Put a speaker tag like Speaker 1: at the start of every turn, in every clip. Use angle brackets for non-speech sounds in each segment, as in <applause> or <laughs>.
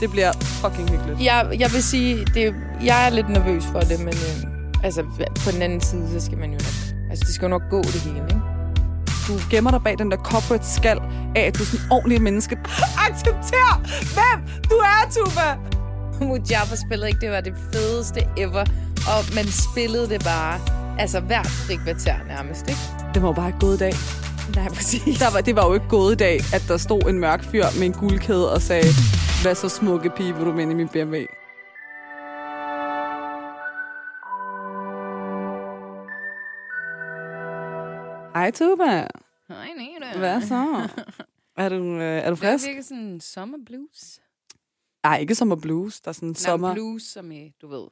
Speaker 1: Det bliver fucking hyggeligt.
Speaker 2: Jeg, jeg vil sige, det, jeg er lidt nervøs for det, men øh, altså, på den anden side, så skal man jo nok... Altså, det skal jo nok gå det hele, <laughs> ikke?
Speaker 1: Du gemmer dig bag den der corporate skal af, at du er sådan en ordentlig menneske. <laughs> Accepter, hvem du er, Tuba!
Speaker 2: Mujabba spillede ikke, det var det fedeste ever. Og man spillede det bare, altså hvert frikvarter nærmest, ikke?
Speaker 1: Det var jo bare ikke gået i dag.
Speaker 2: Nej, præcis.
Speaker 1: Der var, det var jo ikke gået i dag, at der stod en mørk fyr med en guldkæde og sagde, hvad så smukke pige, vil du med ind i min BMW? Hej Tuba,
Speaker 2: <laughs> Nej, nej,
Speaker 1: hvad så? Er du, øh, er du frisk?
Speaker 2: virker sådan en sommerblues.
Speaker 1: Nej, ikke sommer blues. Der er sådan sommer...
Speaker 2: Nej, blues, som i, du ved,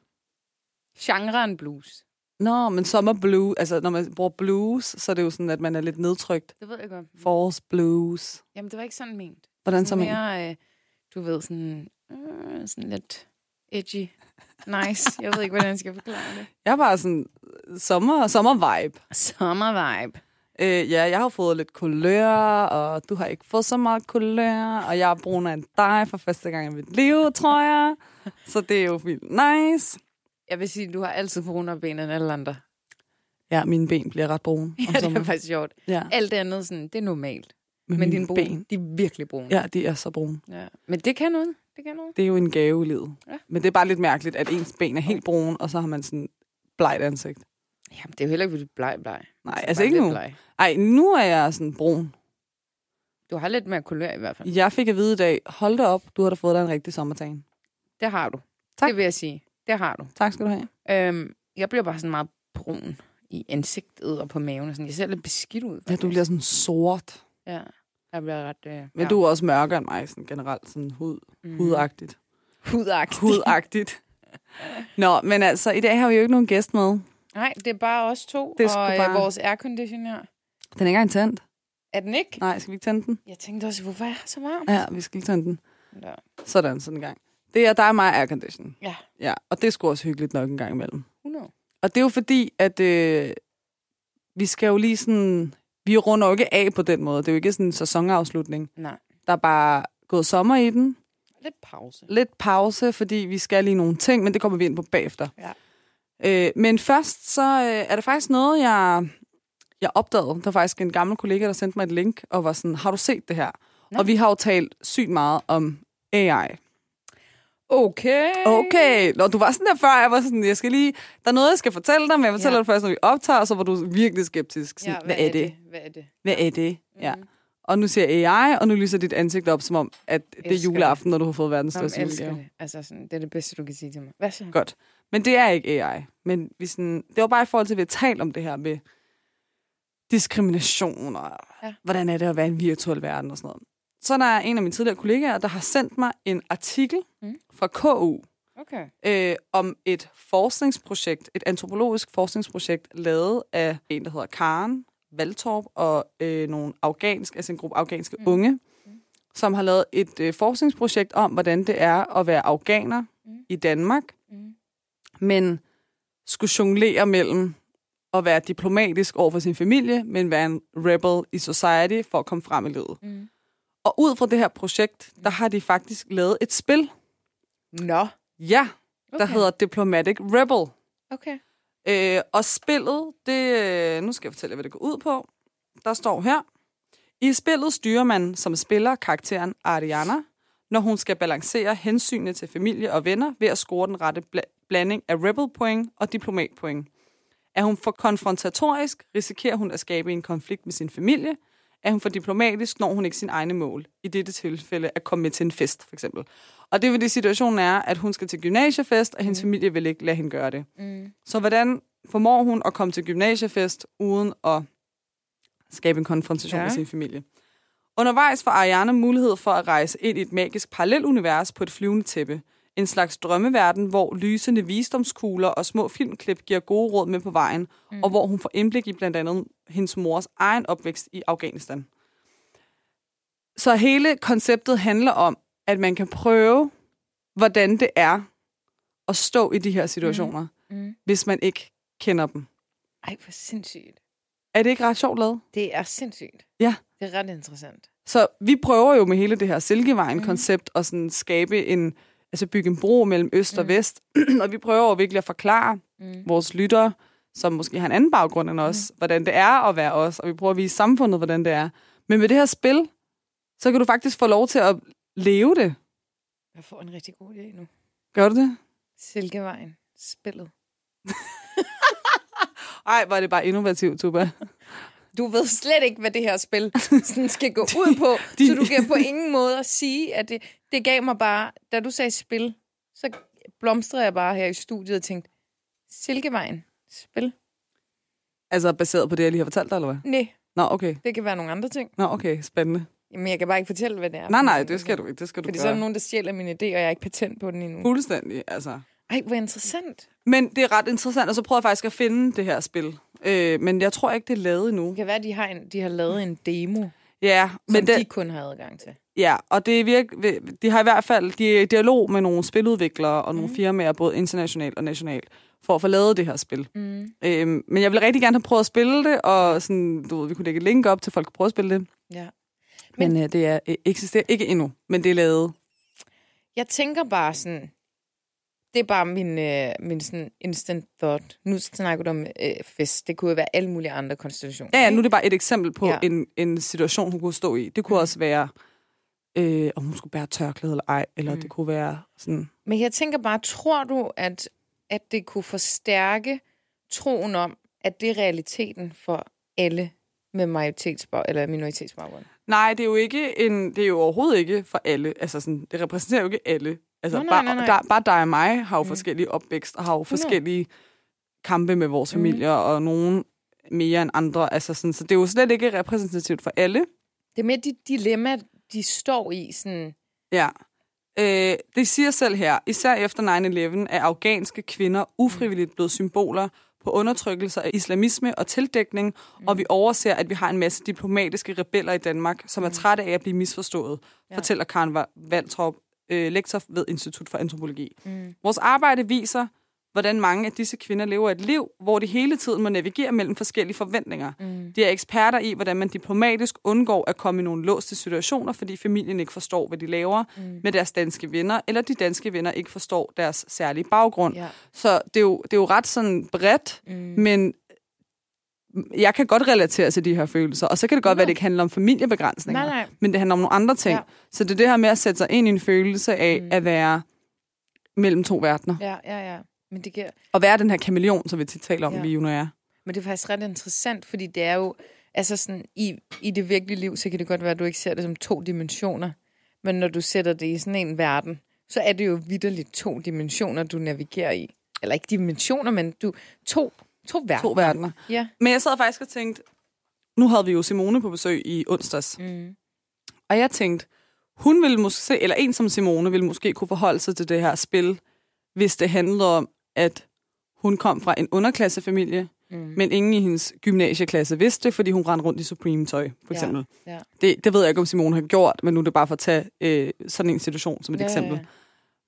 Speaker 2: genren blues.
Speaker 1: Nå, men sommer blue, altså når man bruger blues, så er det jo sådan, at man er lidt nedtrykt.
Speaker 2: Det ved jeg godt.
Speaker 1: False blues.
Speaker 2: Jamen, det var ikke sådan ment.
Speaker 1: Hvordan så
Speaker 2: Sådan
Speaker 1: man?
Speaker 2: mere, øh, du ved, sådan, øh, sådan lidt edgy. Nice. Jeg ved ikke, hvordan jeg skal forklare det.
Speaker 1: Jeg var sådan sommer, sommer vibe.
Speaker 2: Sommervibe.
Speaker 1: Øh, ja, jeg har fået lidt kulør, og du har ikke fået så meget kulør, og jeg er brunere end dig for første gang i mit liv, tror jeg. Så det er jo vildt nice.
Speaker 2: Jeg vil sige, du har altid brunere ben end alle andre.
Speaker 1: Ja, mine ben bliver ret brune om
Speaker 2: <laughs> Ja, det er
Speaker 1: sommeren.
Speaker 2: faktisk sjovt.
Speaker 1: Ja,
Speaker 2: Alt det andet, sådan, det er normalt.
Speaker 1: men,
Speaker 2: Men
Speaker 1: mine
Speaker 2: dine ben, de er virkelig brune.
Speaker 1: Ja, de er så brune.
Speaker 2: ja. Men det kan noget. Det kan noget.
Speaker 1: Det er jo en gave i livet.
Speaker 2: Ja.
Speaker 1: Men det er bare lidt mærkeligt, at ens ben er helt brune, og så har man sådan blegt ansigt.
Speaker 2: Jamen, det er jo heller ikke, fordi du er bleg, bleg.
Speaker 1: Nej,
Speaker 2: Du er
Speaker 1: altså
Speaker 2: bare
Speaker 1: ikke
Speaker 2: lidt
Speaker 1: nu.
Speaker 2: bleg.
Speaker 1: Ej, nu er jeg sådan brun.
Speaker 2: Du har lidt mere kulør i hvert fald.
Speaker 1: Jeg fik at vide i dag, hold da op, du har da fået dig en rigtig sommertagen.
Speaker 2: Det har du.
Speaker 1: Tak.
Speaker 2: Det vil jeg sige. Det har du.
Speaker 1: Tak skal du have.
Speaker 2: Øhm, jeg bliver bare sådan meget brun i ansigtet og på maven. Og sådan. Jeg ser lidt beskidt ud.
Speaker 1: Ja, du bliver sådan sort.
Speaker 2: faktisk. Ja, jeg bliver ret... Øh,
Speaker 1: Men
Speaker 2: ja.
Speaker 1: du er også mørkere end mig, sådan generelt sådan hud,
Speaker 2: Mm.
Speaker 1: hudagtigt.
Speaker 2: Hudagtig.
Speaker 1: Hudagtigt. <laughs> Nå, men altså, i dag har vi jo ikke nogen gæst med.
Speaker 2: Nej, det er bare os to
Speaker 1: Det er
Speaker 2: og øh,
Speaker 1: sgu bare-
Speaker 2: vores aircondition her.
Speaker 1: Den er ikke engang tændt.
Speaker 2: Er den ikke?
Speaker 1: Nej, skal vi ikke tænde den?
Speaker 2: Jeg tænkte også, hvorfor er jeg så varm?
Speaker 1: Ja, vi skal lige tænde den.
Speaker 2: Ja.
Speaker 1: Sådan, sådan en gang. Det er dig og mig aircondition.
Speaker 2: Ja.
Speaker 1: Ja, og det er sgu også hyggeligt nok en gang imellem.
Speaker 2: 100.
Speaker 1: Og det er jo fordi, at øh, vi skal jo lige sådan... Vi runder jo ikke af på den måde. Det er jo ikke sådan en sæsonafslutning.
Speaker 2: Nej.
Speaker 1: Der er bare gået sommer i den.
Speaker 2: Lidt pause.
Speaker 1: Lidt pause, fordi vi skal lige nogle ting, men det kommer vi ind på bagefter.
Speaker 2: Ja.
Speaker 1: Øh, men først så øh, er det faktisk noget, jeg, jeg opdagede. Der var faktisk en gammel kollega, der sendte mig et link og var sådan, har du set det her?
Speaker 2: Nå.
Speaker 1: Og vi har jo talt sygt meget om AI.
Speaker 2: Okay.
Speaker 1: Okay, Nå, du var sådan der før, jeg var sådan, jeg skal lige, der er noget, jeg skal fortælle dig, men jeg fortæller
Speaker 2: Ja.
Speaker 1: ja. det først, når vi optager, og så var du virkelig skeptisk. Sådan,
Speaker 2: Ja, hvad, er det? Hvad er det?
Speaker 1: Hvad er det? Ja.
Speaker 2: Mhm.
Speaker 1: Og nu siger AI, og nu lyser dit ansigt op, som om, at det er
Speaker 2: Elsker
Speaker 1: juleaften, når du har fået verdens
Speaker 2: Nå, men
Speaker 1: største
Speaker 2: jeg elsker
Speaker 1: julegave.
Speaker 2: det. Altså, sådan, det er det bedste, du kan sige til mig. Hvad så?
Speaker 1: Godt. Men det er ikke AI. Men vi sådan, det var bare i forhold til, at vi har talt om det her med diskrimination og
Speaker 2: Ja.
Speaker 1: ja. hvordan er det at være i en virtuel verden og sådan noget. Så der er en af mine tidligere kollegaer, der har sendt mig en artikel
Speaker 2: Mm.
Speaker 1: mm. fra KU
Speaker 2: Okay.
Speaker 1: øh, om et forskningsprojekt, et antropologisk forskningsprojekt, lavet af en, der hedder Karen Valtorp og øh, nogle afghansk, altså en gruppe afghanske
Speaker 2: Mm.
Speaker 1: mm. unge, som har lavet et øh, forskningsprojekt om, hvordan det er at være afghaner
Speaker 2: Mm.
Speaker 1: mm. i Danmark,
Speaker 2: Mm.
Speaker 1: men skulle jonglere mellem at være diplomatisk over for sin familie, men være en rebel i society for at komme frem i livet.
Speaker 2: Mm.
Speaker 1: Og ud fra det her projekt, der har de faktisk lavet et spil,
Speaker 2: Nå.
Speaker 1: ja, der
Speaker 2: Okay.
Speaker 1: hedder Diplomatic Rebel.
Speaker 2: Okay.
Speaker 1: Øh, og spillet, det, øh, nu skal jeg fortælle jer, hvad det går ud på. Der står her. I spillet styrer man som spiller karakteren Ariana, når hun skal balancere hensynet til familie og venner ved at score den rette bla- blanding af rebel-point og diplomat-point. Er hun for konfrontatorisk, risikerer hun at skabe en konflikt med sin familie. Er hun for diplomatisk, når hun ikke sin egne mål. I dette tilfælde at komme med til en fest, for eksempel. Og det vil det, situationen er, at hun skal til gymnasiefest, og hendes familie vil ikke lade hende gøre det.
Speaker 2: Mm.
Speaker 1: Så hvordan formår hun at komme til gymnasiefest uden at skabe en konfrontation
Speaker 2: Ja.
Speaker 1: ja. med sin familie? Undervejs får Ariana mulighed for at rejse ind i et magisk parallelunivers på et flyvende tæppe. En slags drømmeverden, hvor lysende visdomskugler og små filmklip giver gode råd med på vejen, mm. og hvor hun får indblik i blandt andet hendes mors egen opvækst i Afghanistan. Så hele konceptet handler om, at man kan prøve, hvordan det er at stå i de her situationer
Speaker 2: Mm.
Speaker 1: hvis man ikke kender dem.
Speaker 2: Ej, hvor sindssygt.
Speaker 1: Er det ikke ret sjovt lavet?
Speaker 2: Det er sindssygt.
Speaker 1: Ja.
Speaker 2: Det er ret interessant.
Speaker 1: Så vi prøver jo med hele det her Silkevejen-koncept
Speaker 2: Mm.
Speaker 1: at sådan skabe en, altså bygge en bro mellem øst og vest. <clears throat> og vi prøver jo virkelig at forklare
Speaker 2: Mm.
Speaker 1: vores lyttere, som måske har en anden baggrund end os, hvordan det er at være os, og vi prøver at vise samfundet, hvordan det er. Men med det her spil, så kan du faktisk få lov til at leve det.
Speaker 2: Jeg får en rigtig god idé nu.
Speaker 1: Gør du det?
Speaker 2: Silkevejen. Spillet.
Speaker 1: Ej, var det bare innovativt, Tuba. <laughs>
Speaker 2: Du ved slet ikke, hvad det her spil sådan skal gå ud på,
Speaker 1: de-
Speaker 2: så du kan på ingen måde at sige, at det, det gav mig bare... Da du sagde spil, så blomstrede jeg bare her i studiet og tænkte, Silkevejen. Spil?
Speaker 1: Altså baseret på det, jeg lige har fortalt dig, eller hvad?
Speaker 2: Nej,
Speaker 1: Nå, okay.
Speaker 2: det kan være nogle andre ting.
Speaker 1: Nå, okay. Spændende.
Speaker 2: Jamen, jeg kan bare ikke fortælle, hvad det er.
Speaker 1: Nej, nej, det skal du ikke. Det skal du
Speaker 2: Fordi
Speaker 1: gøre.
Speaker 2: så er der nogen, der stjæler min idé, og jeg har ikke patent på den endnu.
Speaker 1: Fuldstændig, altså.
Speaker 2: Ej, hvor interessant.
Speaker 1: Men det er ret interessant, og så prøver jeg faktisk at finde det her spil. Øh, men jeg tror ikke, det er lavet endnu.
Speaker 2: Det kan være, at de har, en, de har lavet en demo,
Speaker 1: Ja,
Speaker 2: som
Speaker 1: men
Speaker 2: det...
Speaker 1: det,
Speaker 2: de kun har adgang til.
Speaker 1: Ja, og det er virke, de har i hvert fald de er i dialog med nogle spiludviklere og nogle firmaer, både internationalt og nationalt, for at få lavet det her spil.
Speaker 2: Mm.
Speaker 1: Øhm, men jeg vil rigtig gerne have prøvet at spille det, og sådan, du ved, vi kunne lægge et link op til folk, der prøver at spille det.
Speaker 2: Ja.
Speaker 1: Men, men øh, det er, øh, eksisterer ikke endnu, men det er lavet.
Speaker 2: Jeg tænker bare sådan... Det er bare min, øh, min sådan instant thought. Nu snakker du om øh, fest. Det kunne jo være alle mulige andre konstellationer.
Speaker 1: Ja, ja, nu er det bare et eksempel på ja.
Speaker 2: Ja. Mm.
Speaker 1: en, en situation, hun kunne stå i. Det kunne også være, øh, om hun skulle bære tørklæde eller ej, eller mm. det kunne være sådan...
Speaker 2: Men jeg tænker bare, tror du, at, at det kunne forstærke troen om, at det er realiteten for alle med majoritetsbag eller minoritetsbaggrund?
Speaker 1: Nej, det er jo ikke en, det er jo overhovedet ikke for alle. Altså sådan, det repræsenterer jo ikke alle. Altså
Speaker 2: Nå, nej,
Speaker 1: bare,
Speaker 2: nej, nej.
Speaker 1: Der, bare dig og mig har jo mm. forskellige opvækst og har jo forskellige kampe med
Speaker 2: Mm.
Speaker 1: vores familier og nogen mere end andre. Altså sådan, så det er jo slet ikke repræsentativt for alle.
Speaker 2: Det er med de dilemma, de står i, sådan...
Speaker 1: Ja. Øh, det siger selv her, især efter 9-11 er afghanske kvinder ufrivilligt blevet symboler på undertrykkelse af islamisme og tildækning, mm. og vi overser, at vi har en masse diplomatiske rebeller i Danmark, som er trætte af at blive misforstået, Mm. ja. fortæller Karen Va- Valtrop, øh, lektor ved Institut for Antropologi. Mm. Vores arbejde viser, hvordan mange af disse kvinder lever et liv, hvor de hele tiden må navigere mellem forskellige forventninger. Mm. De er eksperter i, hvordan man diplomatisk undgår at komme i nogle låste situationer, fordi familien ikke forstår, hvad de laver mm. med deres danske venner, eller de danske venner ikke forstår deres særlige baggrund.
Speaker 2: Ja.
Speaker 1: Så det er, jo, det er jo ret sådan bredt, mm. men jeg kan godt relatere til de her følelser, og så kan det godt være, at det ikke handler om familiebegrænsninger,
Speaker 2: Nej, nej.
Speaker 1: men det handler om nogle andre ting.
Speaker 2: Ja.
Speaker 1: Ja. Så det er det her med at sætte sig ind i en følelse af mm. at være mellem to verdener.
Speaker 2: Ja, ja, ja. Men det, giver,
Speaker 1: Og være den her kameleon, som vi tit taler om,
Speaker 2: Ja.
Speaker 1: ja. vi jo når jeg er.
Speaker 2: men det er faktisk ret interessant, fordi det er jo... Altså sådan, i, i det virkelige liv, så kan det godt være, at du ikke ser det som to dimensioner. Men når du sætter det i sådan en verden, så er det jo vidderligt to dimensioner, du navigerer i. Eller ikke dimensioner, men du to, to verdener.
Speaker 1: To verdener.
Speaker 2: Ja.
Speaker 1: Men jeg sad faktisk og tænkte, nu havde vi jo Simone på besøg i onsdags. Mm. Og jeg tænkte, hun ville måske, eller en som Simone, ville måske kunne forholde sig til det her spil, hvis det handlede om, at hun kom fra en underklassefamilie, mm. men ingen i hendes gymnasieklasse vidste det, fordi hun rendte rundt i Supreme-tøj, for eksempel.
Speaker 2: Ja, ja.
Speaker 1: Det, det ved jeg ikke, om Simone har gjort, men nu er det bare for at tage øh, sådan en situation som et
Speaker 2: Ja, ja,
Speaker 1: eksempel.
Speaker 2: ja.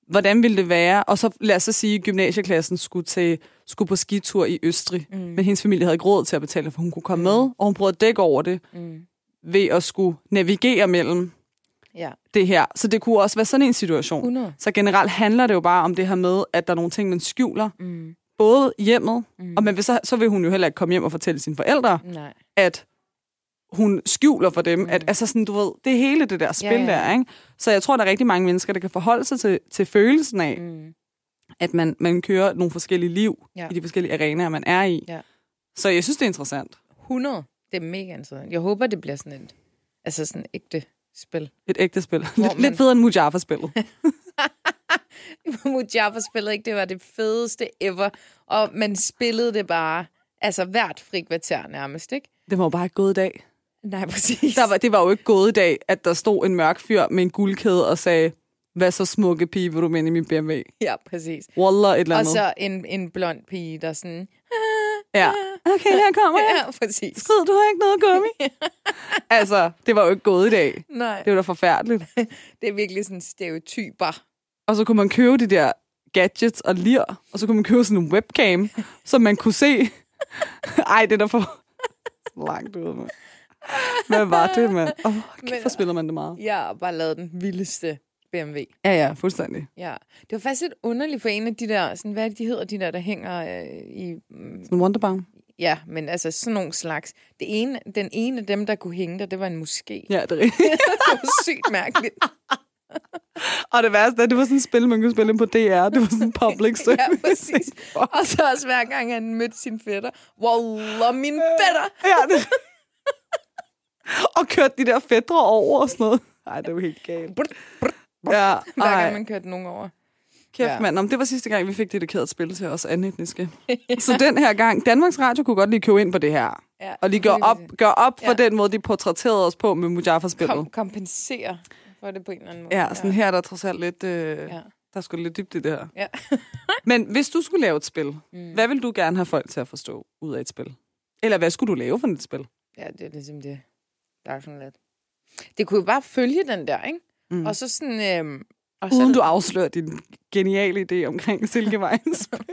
Speaker 1: Hvordan ville det være? Og så lad os så sige, at gymnasieklassen skulle, til, skulle på skitur i Østrig, mm. men hendes familie havde ikke råd til at betale, for hun kunne komme mm. med, og hun prøvede at dække over det
Speaker 2: Mm.
Speaker 1: ved at skulle navigere mellem
Speaker 2: Ja.
Speaker 1: det her. Så det kunne også være sådan en situation.
Speaker 2: 100.
Speaker 1: Så generelt handler det jo bare om det her med, at der er nogle ting, man skjuler.
Speaker 2: Mm.
Speaker 1: Både hjemmet, mm. og man vil så, så vil hun jo heller ikke komme hjem og fortælle sine forældre,
Speaker 2: Nej.
Speaker 1: at hun skjuler for dem. Mm. At, altså sådan, du ved, det er hele det der spil
Speaker 2: Ja,
Speaker 1: ja,
Speaker 2: ja.
Speaker 1: ja. der, ikke? Så jeg tror, der er rigtig mange mennesker, der kan forholde sig til, til følelsen af,
Speaker 2: Mm.
Speaker 1: at man, man kører nogle forskellige liv
Speaker 2: Ja.
Speaker 1: ja. i de forskellige arenaer, man er i.
Speaker 2: Ja.
Speaker 1: Så jeg synes, det er interessant.
Speaker 2: 100. Det er mega interessant. Jeg håber, det bliver sådan et, altså sådan et ægte spil.
Speaker 1: Et ægte spil.
Speaker 2: man-
Speaker 1: Lidt, lidt federe end Mujaffa-spillet.
Speaker 2: <laughs> Mujaffa spillede ikke, det var det fedeste ever. Og man spillede det bare, altså hvert frikvarter nærmest, ikke?
Speaker 1: det var jo bare ikke gået i dag.
Speaker 2: Nej, præcis.
Speaker 1: Der var, det var jo ikke gået i dag, at der stod en mørk fyr med en guldkæde og sagde, hvad så smukke pige, vil du med ind i min BMW?
Speaker 2: Ja, præcis.
Speaker 1: Wallah, et eller
Speaker 2: Og
Speaker 1: andet.
Speaker 2: så en, en blond pige, der sådan... <laughs>
Speaker 1: ja. Okay, her kommer jeg.
Speaker 2: Ja, præcis.
Speaker 1: Skrid, du har ikke noget gummi. <laughs> altså, det var jo ikke gået i dag.
Speaker 2: Nej,
Speaker 1: Det var da forfærdeligt.
Speaker 2: det er virkelig sådan stereotyper.
Speaker 1: Og så kunne man købe de der gadgets og lir, og så kunne man købe sådan en webcam, <laughs> som man kunne se. Ej, det er da for langt ud. mand. Hvad var det, mand? Åh, oh,
Speaker 2: Men-
Speaker 1: kæft, hvor spiller man det meget.
Speaker 2: Jeg har bare lavet den vildeste BMW.
Speaker 1: Ja, ja, fuldstændig.
Speaker 2: Ja. Det var faktisk lidt underligt for en af de der, sådan, hvad er det, de hedder, de der, der hænger øh, i... mm,
Speaker 1: Sådan en Wonderbaum.
Speaker 2: Ja, men altså sådan nogle slags. Det ene, den ene af dem, der kunne hænge der, det var en moské. <laughs>
Speaker 1: Ja, det er rigtigt. <laughs>
Speaker 2: det var sygt mærkeligt.
Speaker 1: Og det værste er, at det var sådan et spil, man kunne spille ind på DR. Det var sådan en <laughs> public service.
Speaker 2: <laughs> ja, præcis. Og så også hver gang, han mødte sin fætter. Wallah, min
Speaker 1: Øh.
Speaker 2: fætter!
Speaker 1: Ja, det... <laughs> Og kørte de der fædre over og sådan noget. Nej, det var helt galt.
Speaker 2: Brr, brr.
Speaker 1: Ja,
Speaker 2: Hver gang,
Speaker 1: ej,
Speaker 2: man kørte nogen over.
Speaker 1: kæft
Speaker 2: Ja.
Speaker 1: mand. Om det var sidste gang, vi fik dedikeret spil til os anetniske. <laughs> Så den her gang, Danmarks Radio kunne godt lige købe ind på det her.
Speaker 2: Ja,
Speaker 1: Og lige gøre op, gør op for
Speaker 2: Ja.
Speaker 1: den måde, de portrætterede os på med Mujaffa-spillet.
Speaker 2: Kom, kompensere for det på en eller anden måde.
Speaker 1: Ja, sådan her er der trods alt lidt... Øh,
Speaker 2: Ja.
Speaker 1: Der skulle lidt dybt i det her.
Speaker 2: Ja.
Speaker 1: <laughs> Men hvis du skulle lave et spil, mm. hvad vil du gerne have folk til at forstå ud af et spil? Eller hvad skulle du lave for et spil?
Speaker 2: Ja, det er ligesom det. Der er sådan lidt. Det kunne jo bare følge den der, ikke? Mm. Og så sådan... Øhm, og så
Speaker 1: Uden du afslører din geniale idé omkring Silkevejens spil.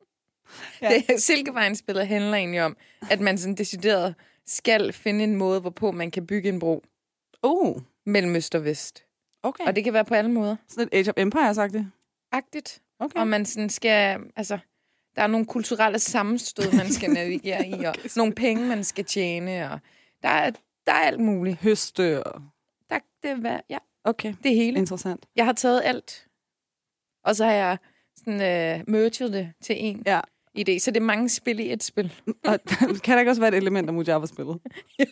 Speaker 2: <laughs> det, Silkevejen-spillet handler egentlig om, at man sådan decideret skal finde en måde, hvorpå man kan bygge en bro
Speaker 1: Oh,
Speaker 2: mellem øst og vest.
Speaker 1: okay.
Speaker 2: Og det kan være på alle måder.
Speaker 1: Sådan et Age of Empires-agtigt.
Speaker 2: Agtigt.
Speaker 1: Okay.
Speaker 2: Og man sådan skal... Altså, der er nogle kulturelle sammenstød, man skal navigere i, og nogle penge, man skal tjene, og der er, der er alt muligt.
Speaker 1: Høste og...
Speaker 2: Der, det, er, hvad- ja,
Speaker 1: Okay,
Speaker 2: det hele.
Speaker 1: øh, interessant.
Speaker 2: Jeg har taget alt. Og så har jeg sådan, øh, merged det til en
Speaker 1: Ja.
Speaker 2: idé. Så det er mange spil i et spil.
Speaker 1: Og <laughs> kan der ikke også være et element af Mujaffa-spillet?
Speaker 2: Jo.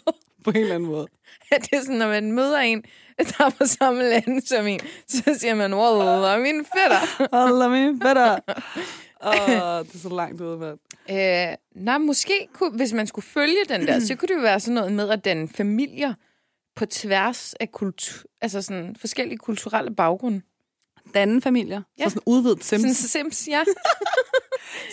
Speaker 1: På en eller anden måde.
Speaker 2: <laughs> det er sådan, når man møder en, <laughs> der er på samme land som en, så siger man, wallah, min fætter.
Speaker 1: Hold min fætter. Åh, det er så langt ude, mand.
Speaker 2: øh, nej, måske, kunne, hvis man skulle følge den der, så kunne det jo være sådan noget med, at den familier på tværs af kultur, altså sådan forskellige kulturelle baggrunde.
Speaker 1: Danne familier. Ja.
Speaker 2: Ja.
Speaker 1: Så sådan udvidet Sims.
Speaker 2: Sådan sims,
Speaker 1: <laughs>
Speaker 2: ja.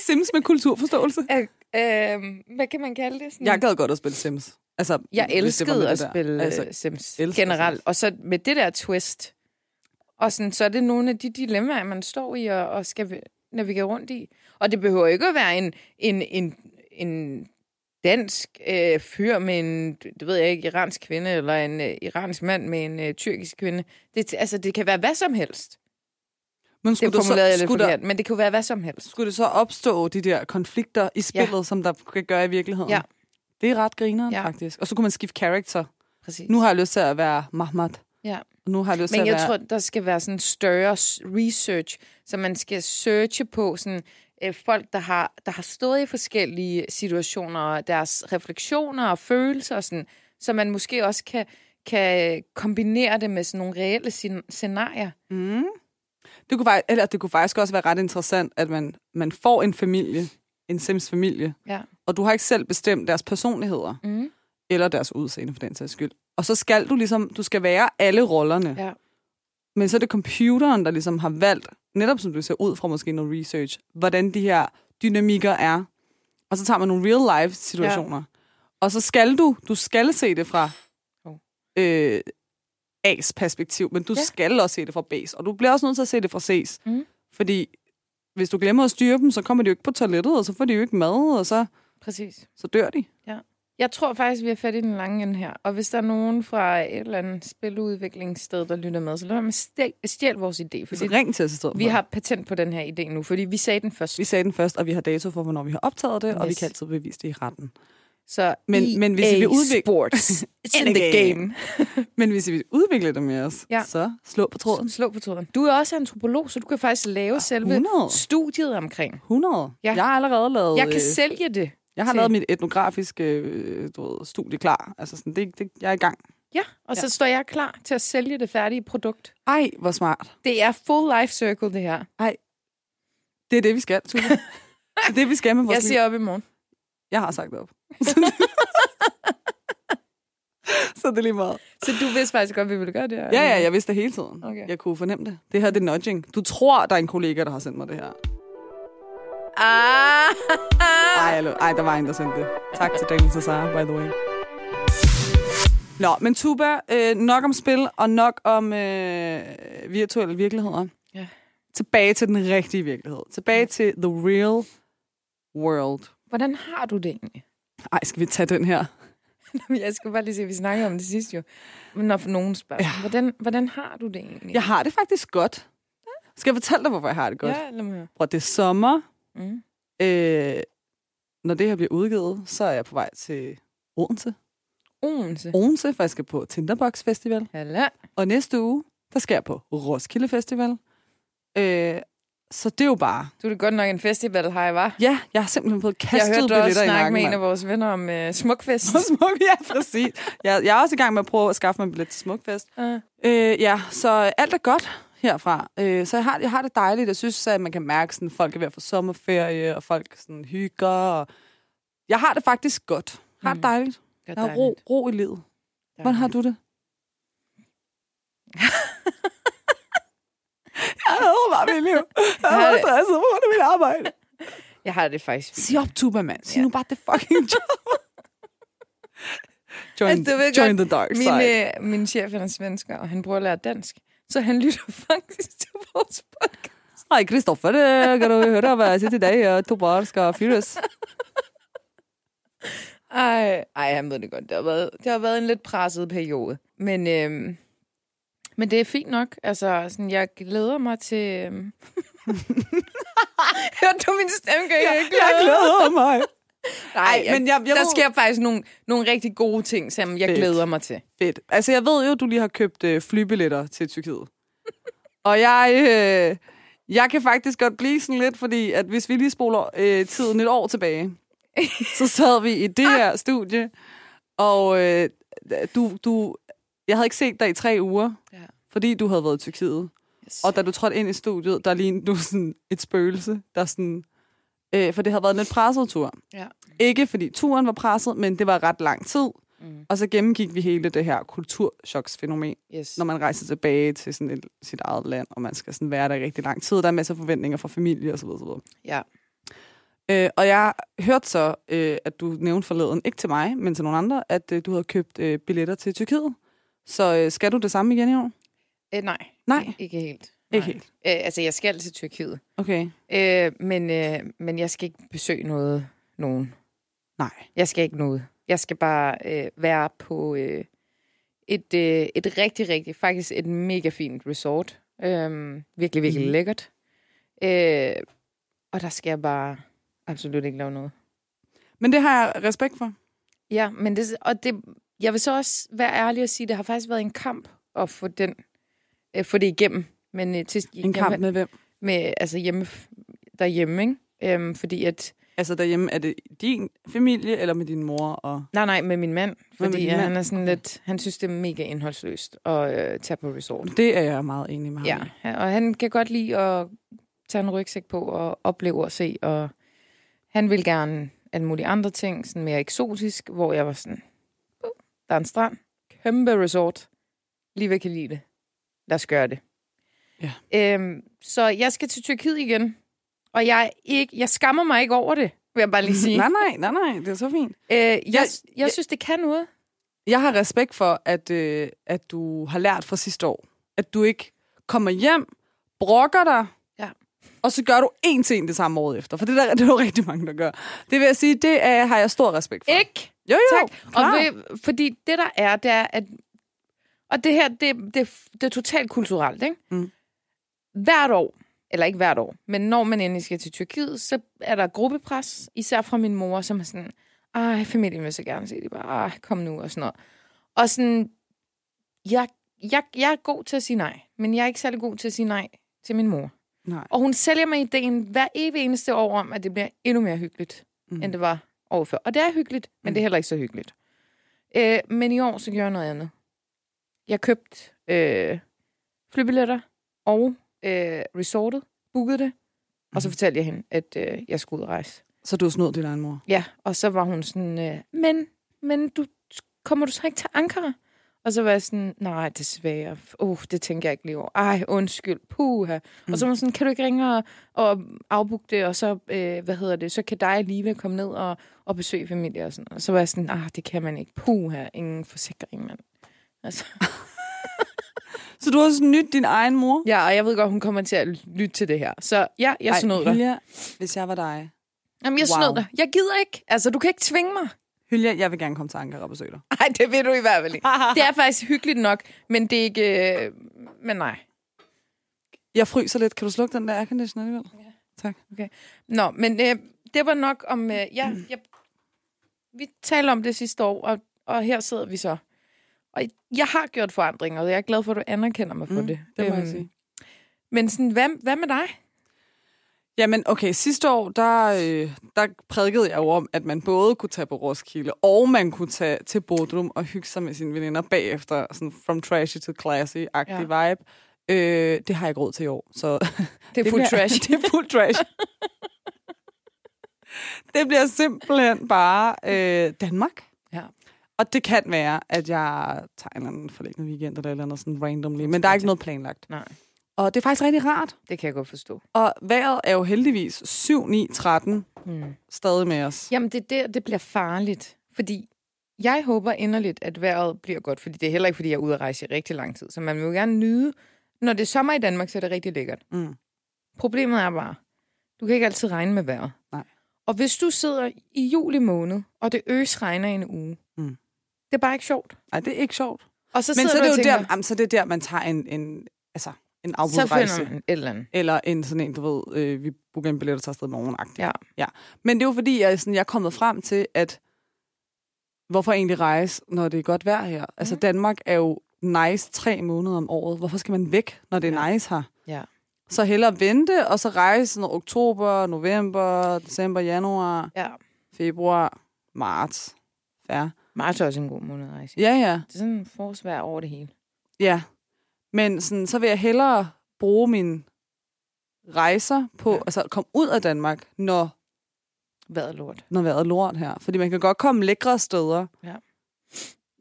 Speaker 1: Sims med kulturforståelse.
Speaker 2: øh, øh, hvad kan man kalde det? Sådan
Speaker 1: Jeg gad godt at spille Sims. Altså,
Speaker 2: Jeg
Speaker 1: hvis det var med
Speaker 2: elskede at
Speaker 1: det der.
Speaker 2: spille altså,
Speaker 1: Altså,
Speaker 2: Sims
Speaker 1: elsker
Speaker 2: generelt.
Speaker 1: Sims.
Speaker 2: Og så med det der twist. Og sådan, så er det nogle af de dilemmaer, man står i og, og skal navigere rundt i. Og det behøver ikke at være en, en, en, en dansk øh, fyr med en, det ved jeg ikke, iransk kvinde, eller en øh, iransk mand med en øh, tyrkisk kvinde. Det, altså, det kan være hvad som helst.
Speaker 1: men
Speaker 2: Det
Speaker 1: skulle, det
Speaker 2: formulerede jeg
Speaker 1: så,
Speaker 2: lidt
Speaker 1: skulle, der,
Speaker 2: forkert, men det kan jo være hvad som helst.
Speaker 1: skulle det så opstå de der konflikter i spillet, ja. som der kan gøre i virkeligheden?
Speaker 2: Ja.
Speaker 1: Det er ret grineren,
Speaker 2: Ja.
Speaker 1: ja. faktisk. Og så kunne man skifte karakter.
Speaker 2: Præcis.
Speaker 1: Nu har jeg lyst til at være Mahmoud.
Speaker 2: ja.
Speaker 1: Og Nu har jeg lyst
Speaker 2: Men
Speaker 1: til at
Speaker 2: jeg
Speaker 1: være...
Speaker 2: tror, der skal være sådan større s- research, så man skal searche på sådan, øh, folk, der har, der har stået i forskellige situationer, og deres refleksioner og følelser, og sådan, så man måske også kan, kan kombinere det med sådan nogle reelle scen- scenarier.
Speaker 1: Mm. Det kunne, fak- eller det kunne faktisk også være ret interessant, at man, man får en familie, en Sims-familie,
Speaker 2: Ja.
Speaker 1: og du har ikke selv bestemt deres personligheder,
Speaker 2: Mhm.
Speaker 1: eller deres udseende for den sags skyld. Og så skal du ligesom, du skal være alle rollerne.
Speaker 2: ja.
Speaker 1: Men så er det computeren, der ligesom har valgt, netop som du ser ud fra måske noget research, hvordan de her dynamikker er. Og så tager man nogle real-life situationer. Ja. Og så skal du, du skal se det fra
Speaker 2: Hov.
Speaker 1: øh, A's perspektiv, men du
Speaker 2: Oh. Ja.
Speaker 1: ja. skal også se det fra B's. Og du bliver også nødt til at se det fra C's.
Speaker 2: Mhm.
Speaker 1: Fordi hvis du glemmer at styre dem, så kommer de jo ikke på toilettet, og så får de jo ikke mad, og så,
Speaker 2: Præcis.
Speaker 1: så dør de.
Speaker 2: Jeg tror faktisk, vi har fat i den lange ende her. Og hvis der er nogen fra et eller andet spiludviklingssted, der lytter med, så lad mig stjæl, stjæl vores idé,
Speaker 1: Så
Speaker 2: fordi
Speaker 1: ring til os i stedet
Speaker 2: vi
Speaker 1: for.
Speaker 2: har patent på den her idé nu, fordi vi sagde den først.
Speaker 1: vi sagde den først, og vi har dato for, hvornår vi har optaget det, yes. og vi
Speaker 2: Yes.
Speaker 1: kan altid bevise det i retten.
Speaker 2: Så
Speaker 1: Men- men hvis I
Speaker 2: EA
Speaker 1: vil udvikle-
Speaker 2: Sports it's <laughs> in the game.
Speaker 1: Men hvis I vil udvikle det med os,
Speaker 2: Ja.
Speaker 1: ja. så slå på tråden.
Speaker 2: Slå på tråden. Ah, Du er også antropolog, så du kan faktisk lave selve
Speaker 1: 100.
Speaker 2: studiet omkring.
Speaker 1: 100.
Speaker 2: Ja.
Speaker 1: Ja. Jeg har allerede lavet...
Speaker 2: Jeg kan
Speaker 1: øh,
Speaker 2: sælge det.
Speaker 1: jeg har
Speaker 2: til-
Speaker 1: lavet mit etnografiske øh, du ved, studie klar. Altså sådan, det, det, jeg er i gang.
Speaker 2: Ja, og så står jeg klar til at sælge det færdige produkt.
Speaker 1: Ej, hvor smart.
Speaker 2: Det er full life circle, det her.
Speaker 1: Det er det, vi skal,
Speaker 2: <laughs>
Speaker 1: Tuba. det er det, vi skal med vores
Speaker 2: Jeg
Speaker 1: liv.
Speaker 2: siger op i morgen.
Speaker 1: Jeg har sagt det <laughs> op. Så det er lige meget.
Speaker 2: Så du vidste faktisk godt, at vi ville gøre det her.
Speaker 1: Ja, ja, jeg vidste det hele tiden.
Speaker 2: Okay.
Speaker 1: Jeg kunne fornemme det. Det her, det er nudging. Du tror, der er en kollega, der har sendt mig det her.
Speaker 2: Ah.
Speaker 1: Ej, hallo. Ej, der var en, der sendte det. Tak til Daniel Cesar, by the way. Nå, men Tuba, øh, nok om spil og nok om øh, virtuelle virkeligheder.
Speaker 2: Ja.
Speaker 1: Tilbage til den rigtige virkelighed. Tilbage til the real world.
Speaker 2: Hvordan har du det egentlig? <laughs>
Speaker 1: Ej, skal vi tage den her?
Speaker 2: Nå, men jeg skal bare lige se, vi snakkede om det sidste jo. Men når nogen spørger, ja. hvordan, hvordan har du det egentlig?
Speaker 1: Jeg har det faktisk godt. Skal jeg fortælle dig, hvorfor jeg har det godt?
Speaker 2: Ja, lad mig høre.
Speaker 1: Prøv, det er sommer.
Speaker 2: Mm.
Speaker 1: Øh, når det her bliver udgivet, så er jeg på vej til Odense.
Speaker 2: Odense.
Speaker 1: Odense, for jeg skal på Tinderbox Festival.
Speaker 2: Halla.
Speaker 1: Og næste uge, der skal jeg på Roskilde Festival. Øh, så det er jo bare...
Speaker 2: Du er da godt nok en festival, har jeg, var.
Speaker 1: Ja, jeg har simpelthen fået
Speaker 2: Jeg
Speaker 1: kastet
Speaker 2: hørte du
Speaker 1: billetter
Speaker 2: også
Speaker 1: i
Speaker 2: snakke
Speaker 1: nakken.
Speaker 2: med en
Speaker 1: <laughs> mand.
Speaker 2: af vores venner om uh, smukfest.
Speaker 1: På smuk, ja, præcis. Jeg, jeg er også i gang med at prøve at skaffe mig en billet til Smukfest.
Speaker 2: Ja.
Speaker 1: Øh, ja, så alt er godt herfra. Øh, så jeg har, jeg har det dejligt. Jeg synes, at man kan mærke, at folk er ved at få sommerferie, og folk sådan, hygger. Og jeg har det faktisk godt. Jeg
Speaker 2: Mm.
Speaker 1: har det dejligt.
Speaker 2: Det er
Speaker 1: Jeg har ro,
Speaker 2: dejligt.
Speaker 1: ro i livet. Hvordan har du <laughs> det? jeg havde bare mit liv. Jeg
Speaker 2: Jeg har
Speaker 1: havde
Speaker 2: det-
Speaker 1: stresset på grund af mit arbejde.
Speaker 2: Jeg har det faktisk.
Speaker 1: Sig op, Tuba, mand. Sig
Speaker 2: Ja.
Speaker 1: nu bare det fucking job. <laughs> join
Speaker 2: Altså, du ved
Speaker 1: join
Speaker 2: godt,
Speaker 1: the dark
Speaker 2: Min,
Speaker 1: side.
Speaker 2: øh, min chef han er svensker, og han prøver at lære dansk. Så han lytter <laughs> faktisk til vores podcast.
Speaker 1: Hej, Kristoffer. Øh, Kan du høre, hvad jeg siger til dig? Øh, Tuba skal fyres.
Speaker 2: Ej, ej han ved det godt. Det har været, det har været en lidt presset periode. Men, øhm, men det er fint nok. Altså, sådan, jeg glæder mig til... Øhm... <laughs> Hørte du min stemme? Kan jeg, ikke
Speaker 1: <laughs> Jeg glæder mig.
Speaker 2: Nej,
Speaker 1: Ej,
Speaker 2: jeg,
Speaker 1: men jeg- jeg
Speaker 2: der
Speaker 1: må-
Speaker 2: sker faktisk nogle, nogle rigtig gode ting, som jeg
Speaker 1: Fedt.
Speaker 2: glæder mig til.
Speaker 1: Fedt. Altså, jeg ved jo, at du lige har købt øh, flybilletter til Tyrkiet. Og jeg, øh, jeg kan faktisk godt blive sådan lidt, fordi at hvis vi lige spoler øh, tiden et år tilbage, så sad vi i det her studie, og øh, du, du, jeg havde ikke set dig i tre uger,
Speaker 2: Ja.
Speaker 1: fordi du havde været i Tyrkiet.
Speaker 2: Yes.
Speaker 1: Og da du trådte ind i studiet, der lignede du sådan et spøgelse, der sådan... Øh, for det havde været en lidt presset tur.
Speaker 2: Ja.
Speaker 1: Ikke fordi turen var presset, men det var ret lang tid. Mm. Og så gennemgik vi hele det her kulturchoksfænomen,
Speaker 2: Yes.
Speaker 1: når man rejser tilbage til sådan et, sit eget land, og man skal sådan være der i rigtig lang tid. Der er masser af forventninger fra familie osv. osv.
Speaker 2: Ja.
Speaker 1: Øh, og jeg hørte så, øh, at du nævnte forleden, ikke til mig, men til nogle andre, at øh, du havde købt øh, billetter til Tyrkiet. Så øh, skal du det samme igen i år?
Speaker 2: Æ, Øh, nej.
Speaker 1: Nej.
Speaker 2: I- Ikke helt.
Speaker 1: Ikke
Speaker 2: Nej.
Speaker 1: helt.
Speaker 2: Æ, altså, jeg skal til Tyrkiet.
Speaker 1: Okay.
Speaker 2: Øh, men, øh, men jeg skal ikke besøge noget, nogen.
Speaker 1: Nej.
Speaker 2: Jeg skal ikke noget. Jeg skal bare øh, være på øh, et, øh, et rigtig, rigtig, faktisk et mega fint resort. Øhm, virkelig, virkelig
Speaker 1: Mhm.
Speaker 2: mm. lækkert. Øh, og der skal jeg bare absolut ikke lave noget.
Speaker 1: Men det har jeg respekt for.
Speaker 2: Ja, men det, og det, jeg vil så også være ærlig og sige, at det har faktisk været en kamp at få, den, øh, få det igennem. Men øh, til,
Speaker 1: En kamp med hvem?
Speaker 2: med altså hjemme derhjemme, ikke? Øhm, fordi at
Speaker 1: Altså derhjemme, er det din familie eller med din mor? Og...
Speaker 2: nej nej med min mand,
Speaker 1: Hvad med
Speaker 2: fordi
Speaker 1: din
Speaker 2: at
Speaker 1: mand?
Speaker 2: han er sådan lidt han synes det er mega indholdsløst at øh, tage på resort.
Speaker 1: Det er jeg meget enig med ham
Speaker 2: Ja,
Speaker 1: i.
Speaker 2: og han kan godt lide at tage en rygsæk på og opleve og se og han vil gerne alle mulige andre ting, sådan mere eksotisk, hvor jeg var sådan, "Uh, der er en strand, kæmpe resort, lige hvad kan lide det. Lad os gøre det.
Speaker 1: Ja.
Speaker 2: Øhm, så jeg skal til Tyrkiet igen, og jeg, er ikke, jeg skammer mig ikke over det, vil jeg bare lige
Speaker 1: <laughs>
Speaker 2: sige.
Speaker 1: Nej, nej, nej, nej, det er så fint.
Speaker 2: Øh, jeg, jeg,
Speaker 1: jeg-
Speaker 2: jeg synes, det kan noget.
Speaker 1: Jeg har respekt for, at, øh, at du har lært fra sidste år. At du ikke kommer hjem, brokker dig,
Speaker 2: Ja.
Speaker 1: og så gør du én ting det samme året efter. For det, der, <laughs> det er jo rigtig mange, der gør. Det vil jeg sige, det er, har jeg stor respekt for.
Speaker 2: Ikke?
Speaker 1: Jo, jo,
Speaker 2: Tak. Og
Speaker 1: klar.
Speaker 2: ved, fordi det, der er, det er, at... Og det her, det, det, det er totalt kulturelt, ikke?
Speaker 1: Mm.
Speaker 2: Hvert år, eller ikke hvert år, men når man endelig skal til Tyrkiet, så er der gruppepres, især fra min mor, som er sådan, ej, familien vil så gerne se det, bare, ej, kom nu, og sådan noget. Og sådan, jeg, jeg, jeg er god til at sige nej, men jeg er ikke særlig god til at sige nej til min mor.
Speaker 1: Nej.
Speaker 2: Og hun sælger mig ideen hver evig eneste år om, at det bliver endnu mere hyggeligt,
Speaker 1: Mm.
Speaker 2: mm. end det var året før. Og det er hyggeligt, men
Speaker 1: Mm.
Speaker 2: det er heller ikke så hyggeligt. Øh, men i år, så gjorde jeg noget andet. Jeg købte øh, flybilletter og øh, resortet, bookede det, og så fortalte jeg hende, at øh, jeg skulle ud og rejse.
Speaker 1: Så du har snået din egen mor.
Speaker 2: Ja, og så var hun sådan, øh, men, men du, kommer du så ikke til Ankara? Og så var jeg sådan, nej, desværre. Uh, det tænker jeg ikke lige over. Ej, undskyld. Puha. Mm. Og så var hun sådan, kan du ikke ringe og, og afbooke det, og så, øh, hvad hedder det, så kan dig alligevel komme ned og, og besøge familie og sådan noget. Så var jeg sådan, ah, det kan man ikke. Puha, ingen forsikring, mand. Altså.
Speaker 1: Så du har snydt din egen mor?
Speaker 2: Ja, og jeg ved godt, hun kommer til at lytte til det her. Så ja, jeg snød dig.
Speaker 1: Hilja, hvis jeg var dig.
Speaker 2: Jamen, jeg
Speaker 1: Wow.
Speaker 2: wow. snød dig. Jeg gider ikke. Altså, du kan ikke tvinge mig.
Speaker 1: Hylja, jeg vil gerne komme til Ankara og besøge dig.
Speaker 2: <laughs> Nej, det vil du i hvert
Speaker 1: <laughs>
Speaker 2: fald ikke. Det er faktisk hyggeligt nok, men det er ikke... Øh, men nej.
Speaker 1: Jeg fryser lidt. Kan du slukke den der aircondition alligevel? Ja. Tak.
Speaker 2: Nå, men øh, det var nok om... Øh, ja, jeg, vi talte om det sidste år, og, og her sidder vi så. Og jeg har gjort forandringer, og jeg er glad for, at du anerkender mig for
Speaker 1: Mm,
Speaker 2: det.
Speaker 1: Det må
Speaker 2: Øhm,
Speaker 1: jeg sige.
Speaker 2: Men sådan, hvad, hvad med dig?
Speaker 1: Jamen, okay, sidste år, der, øh, der prædikede jeg jo om, at man både kunne tage på Roskilde, og man kunne tage til Bodrum og hygge sig med sine veninder bagefter, sådan from trashy to classy-agtig ja. vibe. Øh, det har jeg ikke råd til i år, så
Speaker 2: Det er fuld
Speaker 1: bliver-
Speaker 2: trash.
Speaker 1: <laughs> det er fuld trash. det bliver simpelthen bare øh, Danmark.
Speaker 2: Ja.
Speaker 1: Og det kan være, at jeg tager en eller anden forlænget weekend eller et eller andet sådan randomly, men der er ikke noget planlagt.
Speaker 2: Nej,
Speaker 1: Og det er faktisk rigtig rart.
Speaker 2: det kan jeg godt forstå.
Speaker 1: Og vejret er jo heldigvis 7, 9, 13
Speaker 2: Hmm.
Speaker 1: stadig med os.
Speaker 2: Jamen, det er der, det bliver farligt. Fordi jeg håber inderligt, at vejret bliver godt. Fordi det er heller ikke, fordi jeg er ude at rejse i rigtig lang tid. Så man vil jo gerne nyde. Når det er sommer i Danmark, så er det rigtig lækkert.
Speaker 1: Mm.
Speaker 2: Problemet er bare, du kan ikke altid regne med vejret.
Speaker 1: Nej.
Speaker 2: Og hvis du sidder i juli måned, og det øs regner i en uge,
Speaker 1: Mm.
Speaker 2: det er bare ikke sjovt.
Speaker 1: Nej, det er ikke sjovt.
Speaker 2: Og så
Speaker 1: Men
Speaker 2: sidder
Speaker 1: så er
Speaker 2: du
Speaker 1: det
Speaker 2: og
Speaker 1: jo
Speaker 2: tænker,
Speaker 1: der, jamen, så er det der, man tager en, en, altså, en
Speaker 2: så
Speaker 1: afbudrejse.
Speaker 2: finder man et eller andet.
Speaker 1: Eller en sådan en, du ved, øh, vi booker en billet og tager afsted i morgen -agtig.
Speaker 2: Ja.
Speaker 1: ja. Men det er jo fordi, jeg, er sådan, jeg er kommet frem til, at hvorfor egentlig rejse, når det er godt vejr her?
Speaker 2: Mm.
Speaker 1: Altså Danmark er jo nice tre måneder om året. Hvorfor skal man væk, når det er nice her?
Speaker 2: Ja.
Speaker 1: Så hellere vente, og så rejse sådan oktober, november, december, januar,
Speaker 2: ja.
Speaker 1: februar, marts. Ja,
Speaker 2: Marts er også en god måned at rejse. i.
Speaker 1: ja. ja.
Speaker 2: Det er sådan forsvær over det hele.
Speaker 1: Ja, men sådan, så vil jeg hellere bruge mine rejser på, ja.
Speaker 2: Ja.
Speaker 1: altså komme ud af Danmark, når,
Speaker 2: Hvad er lort?
Speaker 1: når vejret er lort her. Fordi man kan godt komme lækre steder.
Speaker 2: Ja.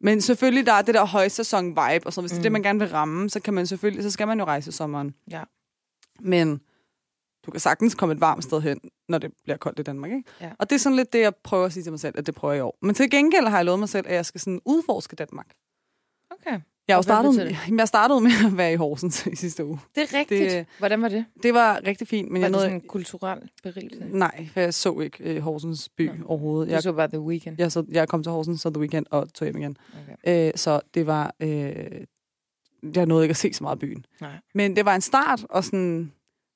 Speaker 1: Men selvfølgelig, der er det der højsæson-vibe, og så hvis mm. det er det,
Speaker 2: Mm.
Speaker 1: man gerne vil ramme, så kan man selvfølgelig, så skal man jo rejse i sommeren.
Speaker 2: Ja.
Speaker 1: Men du kan sagtens komme et varmt sted hen, når det bliver koldt i Danmark, ikke?
Speaker 2: Ja.
Speaker 1: Og det er sådan lidt det, jeg prøver at sige til mig selv, at det prøver jeg i år. Men til gengæld har jeg lovet mig selv, at jeg skal sådan udforske Danmark.
Speaker 2: Okay.
Speaker 1: Jeg, har jo
Speaker 2: Og hvad
Speaker 1: startet,
Speaker 2: betyder
Speaker 1: Jamen, jeg startede med at være i Horsens <laughs> i sidste uge.
Speaker 2: Det er rigtigt. Det, Hvordan var det?
Speaker 1: Det var rigtig fint, men
Speaker 2: Var
Speaker 1: jeg
Speaker 2: det
Speaker 1: nåede...
Speaker 2: sådan en kulturel berigelse?
Speaker 1: Nej, for jeg så ikke øh, Horsens by Nå. overhovedet.
Speaker 2: Du
Speaker 1: Jeg,
Speaker 2: så bare The Weeknd.
Speaker 1: jeg, så, jeg kom til Horsens, så The Weekend og tog hjem igen. Okay. Øh, så det var... Øh, jeg nåede ikke at se så meget af byen.
Speaker 2: Nej.
Speaker 1: Men det var en start, og sådan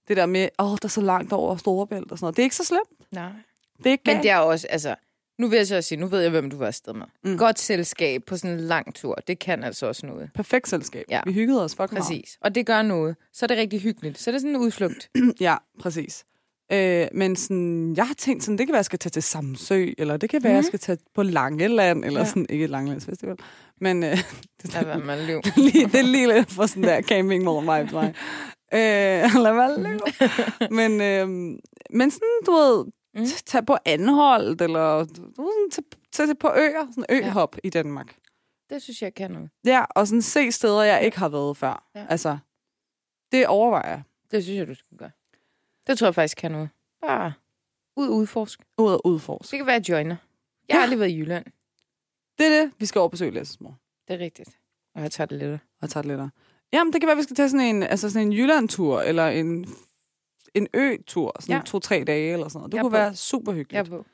Speaker 1: det der med, åh, oh, der er så langt over Storebælt og sådan noget. Det er ikke så slemt.
Speaker 2: Nej.
Speaker 1: Det er ikke
Speaker 2: Men
Speaker 1: galt.
Speaker 2: det er også, altså, nu vil jeg så også sige, nu ved jeg, hvem du var afsted med.
Speaker 1: Mm.
Speaker 2: Mm. Godt selskab på sådan en lang tur, det kan altså også noget.
Speaker 1: perfekt selskab. Ja.
Speaker 2: Ja.
Speaker 1: Vi hyggede os fucking meget.
Speaker 2: Præcis. Og det gør noget. Så er det rigtig hyggeligt. Så er det sådan en udflugt.
Speaker 1: Ja, præcis. Øh, men sådan, jeg har tænkt sådan, det kan være, jeg skal tage til Samsø, eller det kan være, mm. jeg skal tage på Langeland, eller ja.
Speaker 2: Ja.
Speaker 1: sådan, ikke Langelandsfestival, men øh, <laughs> det,
Speaker 2: Lad være med at <laughs> løbe.
Speaker 1: lige, det er lige lidt for sådan der camping morgen vibe for mig. Øh, <laughs> lad være løb. Men, øh, men sådan, du ved,
Speaker 2: Mm.
Speaker 1: t- tag på Anholdt, eller du ved, sådan, tag, tag på øer, sådan øhop ja. i Danmark.
Speaker 2: Det synes jeg kan noget.
Speaker 1: Ja, og sådan se steder, jeg ikke har været før. Ja.
Speaker 2: Ja.
Speaker 1: Altså, det overvejer jeg.
Speaker 2: Det synes jeg, du skulle gøre. Det tror jeg faktisk kan noget. Bare ud og udforsk.
Speaker 1: Ud og udforske.
Speaker 2: Det kan være joiner. Jeg har
Speaker 1: Ja.
Speaker 2: aldrig været i Jylland.
Speaker 1: Det er det, vi skal over og besøge Læsses mor.
Speaker 2: Det er rigtigt. Og jeg tager det lidt.
Speaker 1: og tager det lettere. Jamen, det kan være, at vi skal tage sådan en, altså sådan en Jylland-tur, eller en, en ø-tur, sådan ja.
Speaker 2: Ja.
Speaker 1: to-tre dage eller sådan noget. Det
Speaker 2: Jeg er
Speaker 1: kunne
Speaker 2: på.
Speaker 1: være super hyggeligt.
Speaker 2: Jeg er
Speaker 1: Yep.
Speaker 2: på.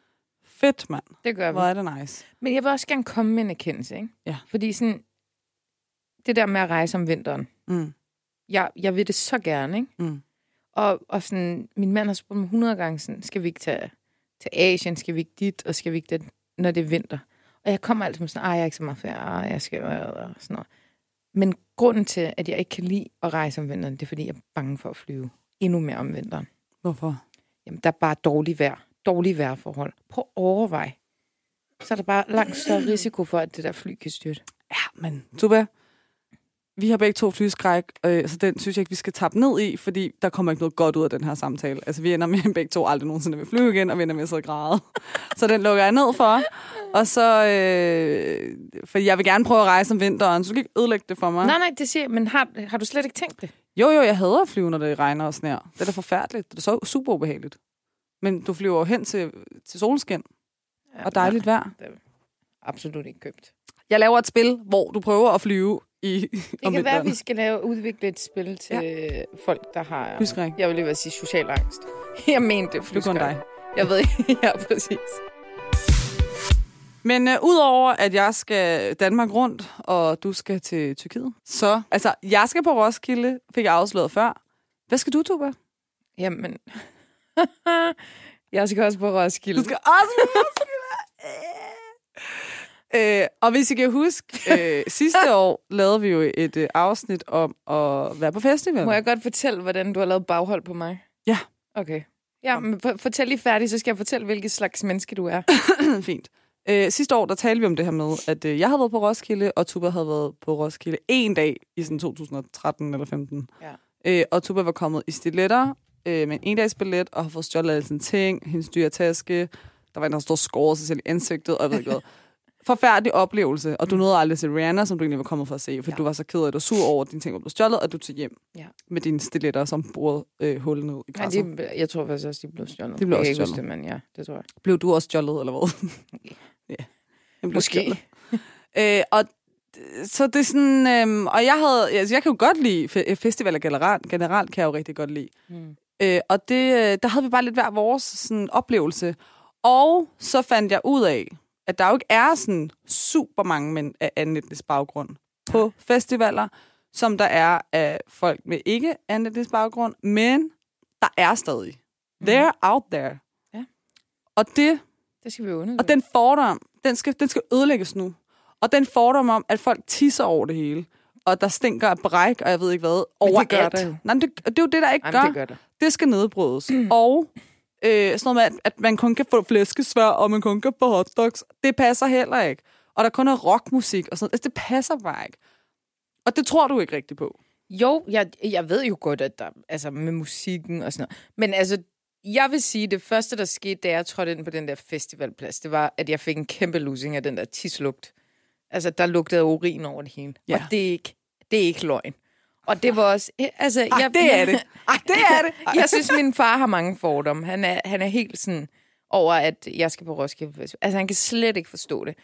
Speaker 1: Fedt, mand.
Speaker 2: Det gør vi.
Speaker 1: Hvor er det nice.
Speaker 2: Men jeg vil også gerne komme med en erkendelse, ikke?
Speaker 1: Ja.
Speaker 2: Fordi sådan, det der med at rejse om vinteren,
Speaker 1: Mm.
Speaker 2: jeg, jeg vil det så gerne, ikke?
Speaker 1: Mm.
Speaker 2: Og, og sådan, min mand har spurgt mig 100 gange, sådan, skal vi ikke tage til Asien, skal vi ikke dit, og skal vi ikke det, når det er vinter? Og jeg kommer altid med sådan, ej, jeg er ikke så meget færdig, ej, jeg skal og sådan noget. Men grunden til, at jeg ikke kan lide at rejse om vinteren, det er, fordi jeg er bange for at flyve endnu mere om vinteren.
Speaker 1: Hvorfor?
Speaker 2: Jamen, der er bare dårlig vejr. Dårlige vejrforhold. Prøv at overveje. Så er der bare langt større risiko for, at det der fly kan styrte.
Speaker 1: Ja, men Tuba, vi har begge to flyskræk, øh, så den synes jeg ikke, vi skal tappe ned i, fordi der kommer ikke noget godt ud af den her samtale. Altså, vi ender med <laughs> at begge to aldrig nogensinde vil flyve igen, og vi ender med at sidde og græde.
Speaker 2: <laughs>
Speaker 1: Så den lukker jeg ned for. Og så, øh, for jeg vil gerne prøve at rejse om vinteren, så du kan ikke ødelægge det for mig.
Speaker 2: Nej, nej, det siger jeg, men har, har du slet ikke tænkt det?
Speaker 1: Jo, jo, jeg hader at flyve, når det regner og sner. Det er da forfærdeligt. Det er så super ubehageligt. Men du flyver jo hen til, til solskin
Speaker 2: Ja,
Speaker 1: og dejligt vejr.
Speaker 2: Absolut ikke købt.
Speaker 1: Jeg laver et spil, hvor du prøver at flyve i
Speaker 2: Det kan være, at vi skal lave, udvikle et spil til ja. folk, der
Speaker 1: <laughs>
Speaker 2: har...
Speaker 1: Flyskræk.
Speaker 2: Jeg vil lige ved at sige social angst. <laughs> Jeg mente det.
Speaker 1: Det er kun
Speaker 2: <laughs> flyskræk.
Speaker 1: dig.
Speaker 2: Jeg ved ikke. ja, præcis.
Speaker 1: Men øh, udover at jeg skal Danmark rundt, og du skal til Tyrkiet, så... Altså, jeg skal på Roskilde, fik jeg afsløret før. Hvad skal du, Tuba?
Speaker 2: Jamen, <laughs> jeg skal også på Roskilde.
Speaker 1: Du skal også
Speaker 2: <laughs>
Speaker 1: på Roskilde! Øh, og hvis I kan huske, øh,
Speaker 2: <laughs>
Speaker 1: sidste år lavede vi jo et øh, afsnit om at være på festival.
Speaker 2: Må jeg godt fortælle, hvordan du har lavet baghold på mig?
Speaker 1: Ja.
Speaker 2: Okay. Ja, men for- fortæl lige færdigt, så skal jeg fortælle, hvilket slags menneske
Speaker 1: <laughs>
Speaker 2: du er.
Speaker 1: Fint. Øh, sidste år, der talte vi om det her med, at øh, jeg havde været på Roskilde, og Tuba havde været på Roskilde en dag i sådan 2013 eller 15.
Speaker 2: Ja.
Speaker 1: Øh, og Tuba var kommet i stiletter øh, med en endagsbillet, og har fået stjålet alle sine ting, hendes dyre taske. Der var en, der stod skåret sig selv i ansigtet, og jeg ved ikke hvad.
Speaker 2: <laughs>
Speaker 1: Forfærdelig oplevelse, og du nåede aldrig til Rihanna, som du egentlig var kommet for at se, for ja. du var så ked af, at du var sur over, at dine ting var blevet stjålet, og du tog hjem
Speaker 2: Ja.
Speaker 1: med dine stiletter, som borede øh, hullet ned i
Speaker 2: Nej,
Speaker 1: græsset.
Speaker 2: de, jeg tror faktisk også, de blev stjålet.
Speaker 1: De blev
Speaker 2: jeg
Speaker 1: også
Speaker 2: kan ikke huske
Speaker 1: stjålet.
Speaker 2: Det, men ja, det tror jeg.
Speaker 1: Blev du også stjålet, eller
Speaker 2: <laughs>
Speaker 1: hvad? ja. Den blev
Speaker 2: Måske.
Speaker 1: stjålet. Øh, og d- så det er sådan... Øhm, og jeg havde... Altså, jeg kan jo godt lide fe- festivaler generelt. Generelt kan jeg jo rigtig godt lide. Mm. Øh, og det, øh, der havde vi bare lidt hver vores sådan, oplevelse. Og så fandt jeg ud af, at der jo ikke er sådan super mange mænd af anden etnisk baggrund på festivaler, som der er af folk med ikke anden etnisk baggrund. Men der er stadig. They're out there.
Speaker 2: Ja.
Speaker 1: Og det
Speaker 2: Det skal vi jo undersøge.
Speaker 1: og den fordom, den skal, den skal ødelægges nu. Og den fordom om, at folk tisser over det hele, og der stinker af bræk, og jeg ved ikke hvad, overalt.
Speaker 2: gør der jo.
Speaker 1: Nej, men det, og det er jo det, der ikke
Speaker 2: Jamen,
Speaker 1: gør.
Speaker 2: det gør der.
Speaker 1: Det skal nedbrydes. Og øh, sådan noget med, at, at man kun kan få flæskesvær, og man kun kan få hotdogs, det passer heller ikke. Og der kun er rockmusik og sådan noget. Altså, det passer bare ikke. Og det tror du ikke rigtigt på.
Speaker 2: Jo, jeg, jeg ved jo godt, at der, altså med musikken og sådan noget. Men altså, jeg vil sige, det første, der skete, da jeg trådte ind på den der festivalplads, det var, at jeg fik en kæmpe losing af den der tislugt. Altså, der lugtede urin over det hele. Ja. Og
Speaker 1: Ja.
Speaker 2: det er, ikke, det er ikke løgn. Og det var også... Altså,
Speaker 1: Ej,
Speaker 2: jeg,
Speaker 1: Ah, det er det. Ej, det er det. Ej.
Speaker 2: <laughs> jeg synes, min far har mange fordomme. Han er, han er helt sådan over, at jeg skal på Roskilde Festival. Altså, han kan slet ikke forstå det.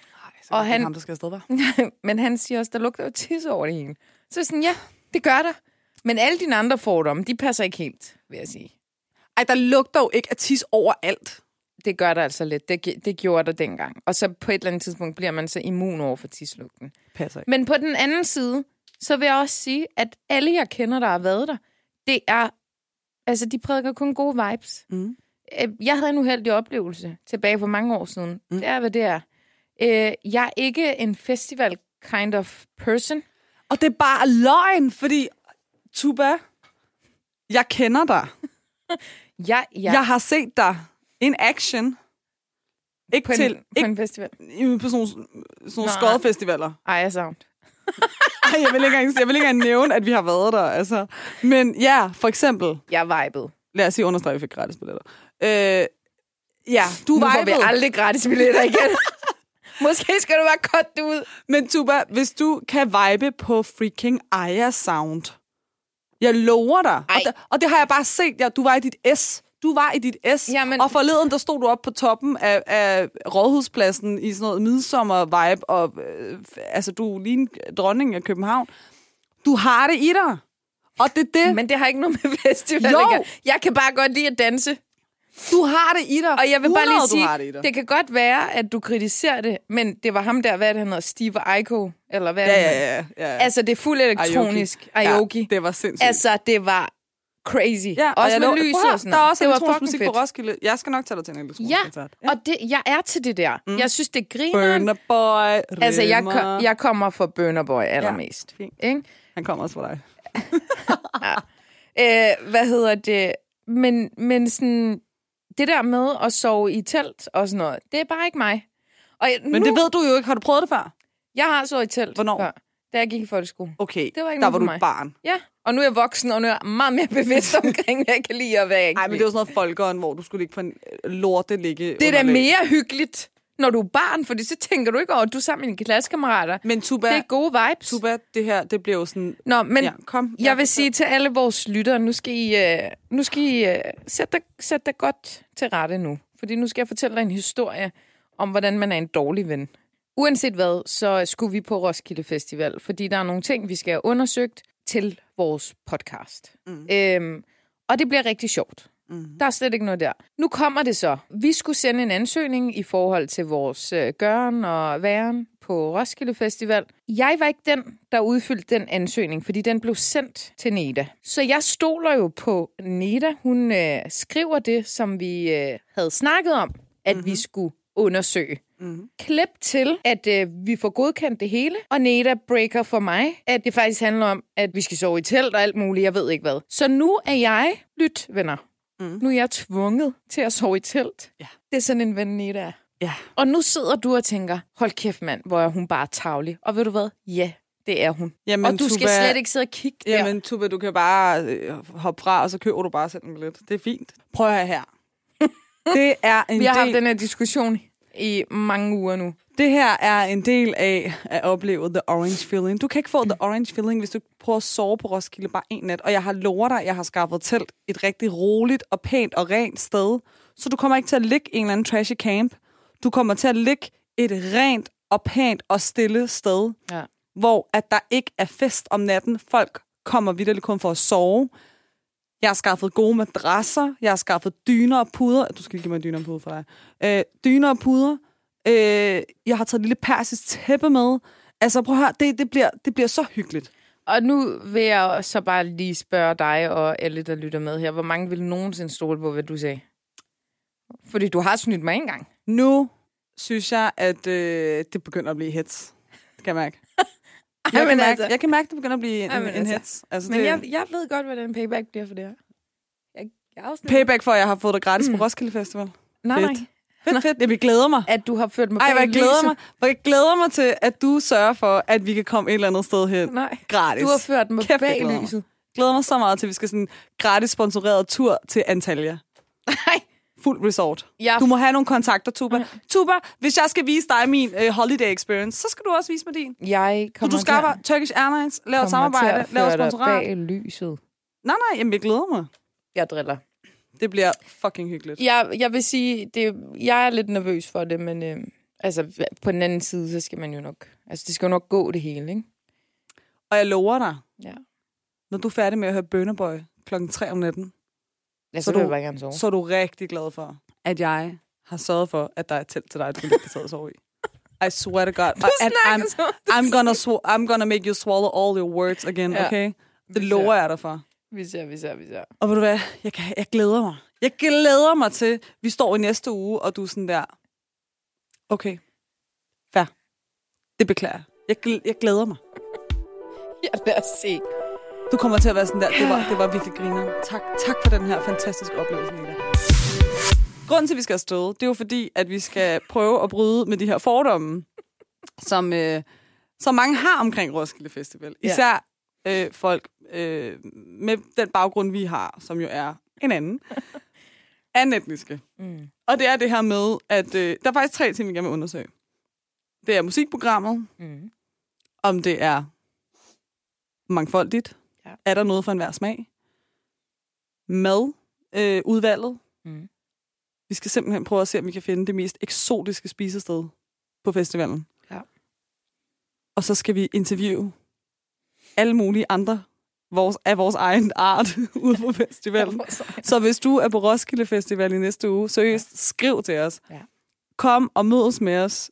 Speaker 1: Og han...
Speaker 2: han-
Speaker 1: ham, der skal afsted, var.
Speaker 2: <laughs> Men han siger også, der lugter jo tis over det hele. Så er jeg sådan, ja, det gør der. Men alle dine andre fordomme, de passer ikke helt, vil jeg sige.
Speaker 1: Ej, der lugter jo ikke af tis overalt.
Speaker 2: Det gør der altså lidt. Det, gi- det gjorde der dengang. Og så på et eller andet tidspunkt bliver man så immun over for tislugten.
Speaker 1: Passer ikke.
Speaker 2: Men på den anden side, så vil jeg også sige, at alle, jeg kender, der har været der, det er... Altså, de prædiker kun gode vibes.
Speaker 1: Mm.
Speaker 2: Øh, Jeg havde en uheldig oplevelse tilbage for mange år siden. Mm. Det er, hvad det er. Øh, Jeg er ikke en festival kind of person.
Speaker 1: Og det er bare løgn, fordi Tuba, jeg kender dig.
Speaker 2: Jeg,
Speaker 1: Ja.
Speaker 2: jeg,
Speaker 1: Jeg har set dig in action. Ikke
Speaker 2: på, en,
Speaker 1: til,
Speaker 2: på
Speaker 1: ikke
Speaker 2: en festival.
Speaker 1: en... på sådan nogle, sådan nogle
Speaker 2: Nej.
Speaker 1: skodfestivaler.
Speaker 2: Ej, jeg er savnet.
Speaker 1: Ej, jeg vil, ikke engang, jeg vil ikke engang nævne, at vi har været der. Altså. Men ja, for eksempel,
Speaker 2: Jeg er vibet.
Speaker 1: lad os sige understrege, at vi fik gratis billetter. Øh, ja, du
Speaker 2: Nu får vi
Speaker 1: vibede.
Speaker 2: aldrig gratis billetter
Speaker 1: <laughs>
Speaker 2: igen. Måske skal du bare cut det ud.
Speaker 1: Men Tuba, hvis du kan vibe på freaking Aya Sound, jeg lover dig. Og
Speaker 2: Ej.
Speaker 1: det, og det har jeg bare set. Ja, du var i dit S. Du var i dit S.
Speaker 2: Jamen-
Speaker 1: Og forleden, der stod du op på toppen af, af Rådhuspladsen i sådan noget midsommer-vibe. Og, øh, f- altså, du er lige en dronning af København. Du har det i dig. Og det er det. Men...
Speaker 2: Men det har ikke noget med festival
Speaker 1: Jo!
Speaker 2: at gøre. Jeg kan bare godt lide at danse.
Speaker 1: Du har det i dig.
Speaker 2: Og jeg vil bare
Speaker 1: 100,
Speaker 2: lige
Speaker 1: du har det i
Speaker 2: sige,
Speaker 1: dig.
Speaker 2: det, det kan godt være, at du kritiserer det, men det var ham der, hvad er det, han hedder? Steve Aiko? Eller hvad er
Speaker 1: Ja,
Speaker 2: det, han
Speaker 1: ja, ja. ja.
Speaker 2: hedder? Altså, det er fuldt elektronisk. Aoki.
Speaker 1: Ja, det var sindssygt.
Speaker 2: Altså, det var crazy.
Speaker 1: ja, og
Speaker 2: også
Speaker 1: jeg
Speaker 2: med
Speaker 1: lover-
Speaker 2: lys
Speaker 1: Prøv at høre,
Speaker 2: og sådan
Speaker 1: Der er
Speaker 2: noget.
Speaker 1: også
Speaker 2: det var
Speaker 1: elektronisk
Speaker 2: fucking
Speaker 1: musik
Speaker 2: fedt.
Speaker 1: på Roskilde. Jeg skal nok tage dig til en elektronisk
Speaker 2: Ja,
Speaker 1: koncert.
Speaker 2: og det, jeg er til det der. Mm. Jeg synes, det er grineren.
Speaker 1: Burner Boy.
Speaker 2: Altså, jeg,
Speaker 1: Rimmer.
Speaker 2: ko- jeg kommer fra Burner Boy allermest.
Speaker 1: fint.
Speaker 2: Ja. Ikke?
Speaker 1: Han kommer også fra dig.
Speaker 2: Øh, hvad hedder det? Men, men sådan, det der med at sove i telt og sådan noget, det er bare ikke mig. Og jeg,
Speaker 1: Men
Speaker 2: nu,
Speaker 1: det ved du jo ikke. Har du prøvet det før?
Speaker 2: jeg har sovet i telt
Speaker 1: Hvornår?
Speaker 2: før, da jeg gik i folkeskole.
Speaker 1: Okay,
Speaker 2: Det var ikke
Speaker 1: der var
Speaker 2: noget for
Speaker 1: du
Speaker 2: mig.
Speaker 1: et barn.
Speaker 2: Ja, og nu er jeg voksen, og nu er jeg meget mere <laughs> bevidst omkring, hvad jeg kan lide og hvad jeg ikke
Speaker 1: Nej, men det var sådan noget folkeånd, hvor du skulle ligge på en øh, lorte ligge
Speaker 2: det er da mere hyggeligt, når du er barn, fordi så tænker du ikke over, at du er sammen med dine klassekammerater.
Speaker 1: Men Tuba,
Speaker 2: Det er gode vibes.
Speaker 1: Tuba, det her, det bliver jo sådan...
Speaker 2: Nå, men
Speaker 1: Ja, kom. Ja,
Speaker 2: jeg vil sige til alle vores lyttere, nu skal I, øh, nu skal I øh, sætte, dig, sætte dig godt til rette nu. Fordi nu skal jeg fortælle dig en historie om, hvordan man er en dårlig ven. Uanset hvad, så skulle vi på Roskilde Festival, fordi der er nogle ting, vi skal have undersøgt til vores podcast. Mm. Øhm, og det bliver rigtig sjovt. Der er slet ikke noget der. Nu kommer det så. Vi skulle sende en ansøgning i forhold til vores øh, gøren og væren på Roskilde Festival. Jeg var ikke den, der udfyldte den ansøgning, fordi den blev sendt til Neda. Så jeg stoler jo på Neda. Hun øh, skriver det, som vi øh, havde snakket om, at mm-hmm. vi skulle undersøge. Mm-hmm. Klip til, at øh, vi får godkendt det hele, og Neda breaker for mig, at det faktisk handler om, at vi skal sove i telt og alt muligt, jeg ved ikke hvad. Så nu er jeg, lyt venner, mm. nu er jeg tvunget til at sove i telt.
Speaker 1: Ja.
Speaker 2: Det er sådan en ven Neda er.
Speaker 1: Ja.
Speaker 2: Og nu sidder du og tænker, hold kæft mand, hvor er hun bare tavlig. Og ved du hvad? Ja, det er hun.
Speaker 1: Jamen,
Speaker 2: og du skal
Speaker 1: Tuba-
Speaker 2: slet ikke sidde og kigge der.
Speaker 1: Jamen, Tuba, du kan bare øh, hoppe fra, og så køber du bare selv en billet. Det er fint. Prøv at høre
Speaker 2: <laughs>
Speaker 1: her. Det er en
Speaker 2: vi har haft
Speaker 1: del,
Speaker 2: den her diskussion i mange uger nu.
Speaker 1: det her er en del af at opleve the orange feeling. Du kan ikke få the orange feeling, hvis du prøver at sove på Roskilde bare en nat. Og jeg har lovet dig, jeg har skaffet telt et rigtig roligt og pænt og rent sted. Så du kommer ikke til at ligge i en eller anden trashy camp. Du kommer til at ligge et rent og pænt og stille sted.
Speaker 2: Ja.
Speaker 1: hvor at der ikke er fest om natten. Folk kommer vidderligt kun for at sove. Jeg har skaffet gode madrasser. Jeg har skaffet dyner og puder. Du skal lige give mig en dyner og puder for dig. Øh, dyner og puder. Øh, jeg har taget et lille persisk tæppe med. Altså prøv at høre, det, det, bliver, det bliver så hyggeligt.
Speaker 2: Og nu vil jeg så bare lige spørge dig og alle, der lytter med her. Hvor mange vil nogensinde stole på, hvad du sagde? Fordi du har snydt mig engang.
Speaker 1: Nu synes jeg, at øh, det begynder at blive hets. Det kan jeg
Speaker 2: <laughs>
Speaker 1: mærke. Jeg,
Speaker 2: men
Speaker 1: kan mærke,
Speaker 2: altså.
Speaker 1: jeg kan mærke, at det begynder at blive en,
Speaker 2: Ej, men
Speaker 1: en
Speaker 2: altså.
Speaker 1: hets. Altså,
Speaker 2: Men
Speaker 1: det,
Speaker 2: jeg, jeg ved godt, hvordan payback bliver for det her. Jeg, jeg er afsnit...
Speaker 1: Payback for, at jeg har fået det gratis
Speaker 2: Mm.
Speaker 1: på Roskilde
Speaker 2: <laughs>
Speaker 1: Festival.
Speaker 2: nej, nej.
Speaker 1: Fedt. Fedt, fedt. Jamen, Jeg glæder mig.
Speaker 2: At du har ført mig
Speaker 1: Ej,
Speaker 2: bag
Speaker 1: hvor jeg glæder
Speaker 2: lyset.
Speaker 1: mig. Hvor jeg glæder mig til, at du sørger for, at vi kan komme et eller andet sted hen.
Speaker 2: Nej.
Speaker 1: Gratis.
Speaker 2: Du har ført mig
Speaker 1: Kæft, jeg
Speaker 2: bag
Speaker 1: glæder mig.
Speaker 2: lyset.
Speaker 1: glæder mig så meget til, at vi skal sådan en gratis sponsoreret tur til Antalya.
Speaker 2: Nej.
Speaker 1: Fuld resort.
Speaker 2: Jeg
Speaker 1: Du må have nogle kontakter, Tuba. Tuba, hvis jeg skal vise dig min øh, holiday experience, så skal du også vise mig din.
Speaker 2: Jeg
Speaker 1: Så
Speaker 2: kommer
Speaker 1: du skaffer Turkish Airlines, laver et samarbejde, laver sponsorat.
Speaker 2: bag lyset.
Speaker 1: Nej, nej, jamen jeg glæder mig.
Speaker 2: Jeg driller.
Speaker 1: Det bliver fucking hyggeligt.
Speaker 2: Jeg, jeg vil sige, det, jeg er lidt nervøs for det, men øh, altså, på den anden side, så skal man jo nok... Altså, det skal jo nok gå det hele, ikke?
Speaker 1: Og jeg lover dig,
Speaker 2: Ja.
Speaker 1: når du er færdig med at høre Bønderboy klokken 3 om natten,
Speaker 2: Jeg
Speaker 1: Så
Speaker 2: så vil
Speaker 1: du-
Speaker 2: jeg bare gerne sove.
Speaker 1: så er du rigtig glad for, at jeg har sørget for, at der er et telt til dig, du kan ligge på taget og sove i. I swear to God. Og at I'm,
Speaker 2: så.
Speaker 1: I'm, gonna sw- I'm gonna make you swallow all your words again,
Speaker 2: Ja.
Speaker 1: okay? Det
Speaker 2: Vi
Speaker 1: lover jeg dig for.
Speaker 2: Vi ser, vi ser, vi ser. <laughs>
Speaker 1: Og ved du hvad? Jeg, kan, jeg glæder mig. Jeg glæder mig til, vi står i næste uge, og du er sådan der, okay, fair. Det beklager jeg. Jeg, gl- jeg glæder mig.
Speaker 2: Ja, lad os se.
Speaker 1: Du kommer til at være sådan der, det var, det var virkelig griner. Tak, tak for den her fantastiske oplevelse, Nina. Grunden til, at vi skal afsted, det er jo fordi, at vi skal prøve at bryde med de her fordomme, som, øh, som mange har omkring Roskilde Festival.
Speaker 2: Ja.
Speaker 1: Især øh, folk øh, med den baggrund, vi har, som jo er en anden, anden etniske.
Speaker 2: Mm.
Speaker 1: Og det er det her med, at øh, der er faktisk tre ting, vi gerne vil undersøge. Det er musikprogrammet,
Speaker 2: Mm.
Speaker 1: om det er mangfoldigt.
Speaker 2: Ja.
Speaker 1: Ja. Er der noget for enhver smag? Mad, øh, udvalget.
Speaker 2: Mm.
Speaker 1: Mm. Vi skal simpelthen prøve at se, om vi kan finde det mest eksotiske spisested på festivalen.
Speaker 2: Ja.
Speaker 1: Og så skal vi interviewe alle mulige andre vores, af vores egen art <laughs> ude på
Speaker 2: <laughs>
Speaker 1: festivalen. Så hvis du er på Roskilde Festival i næste uge, seriøst, skriv til os.
Speaker 2: Ja.
Speaker 1: Kom og mødes med os.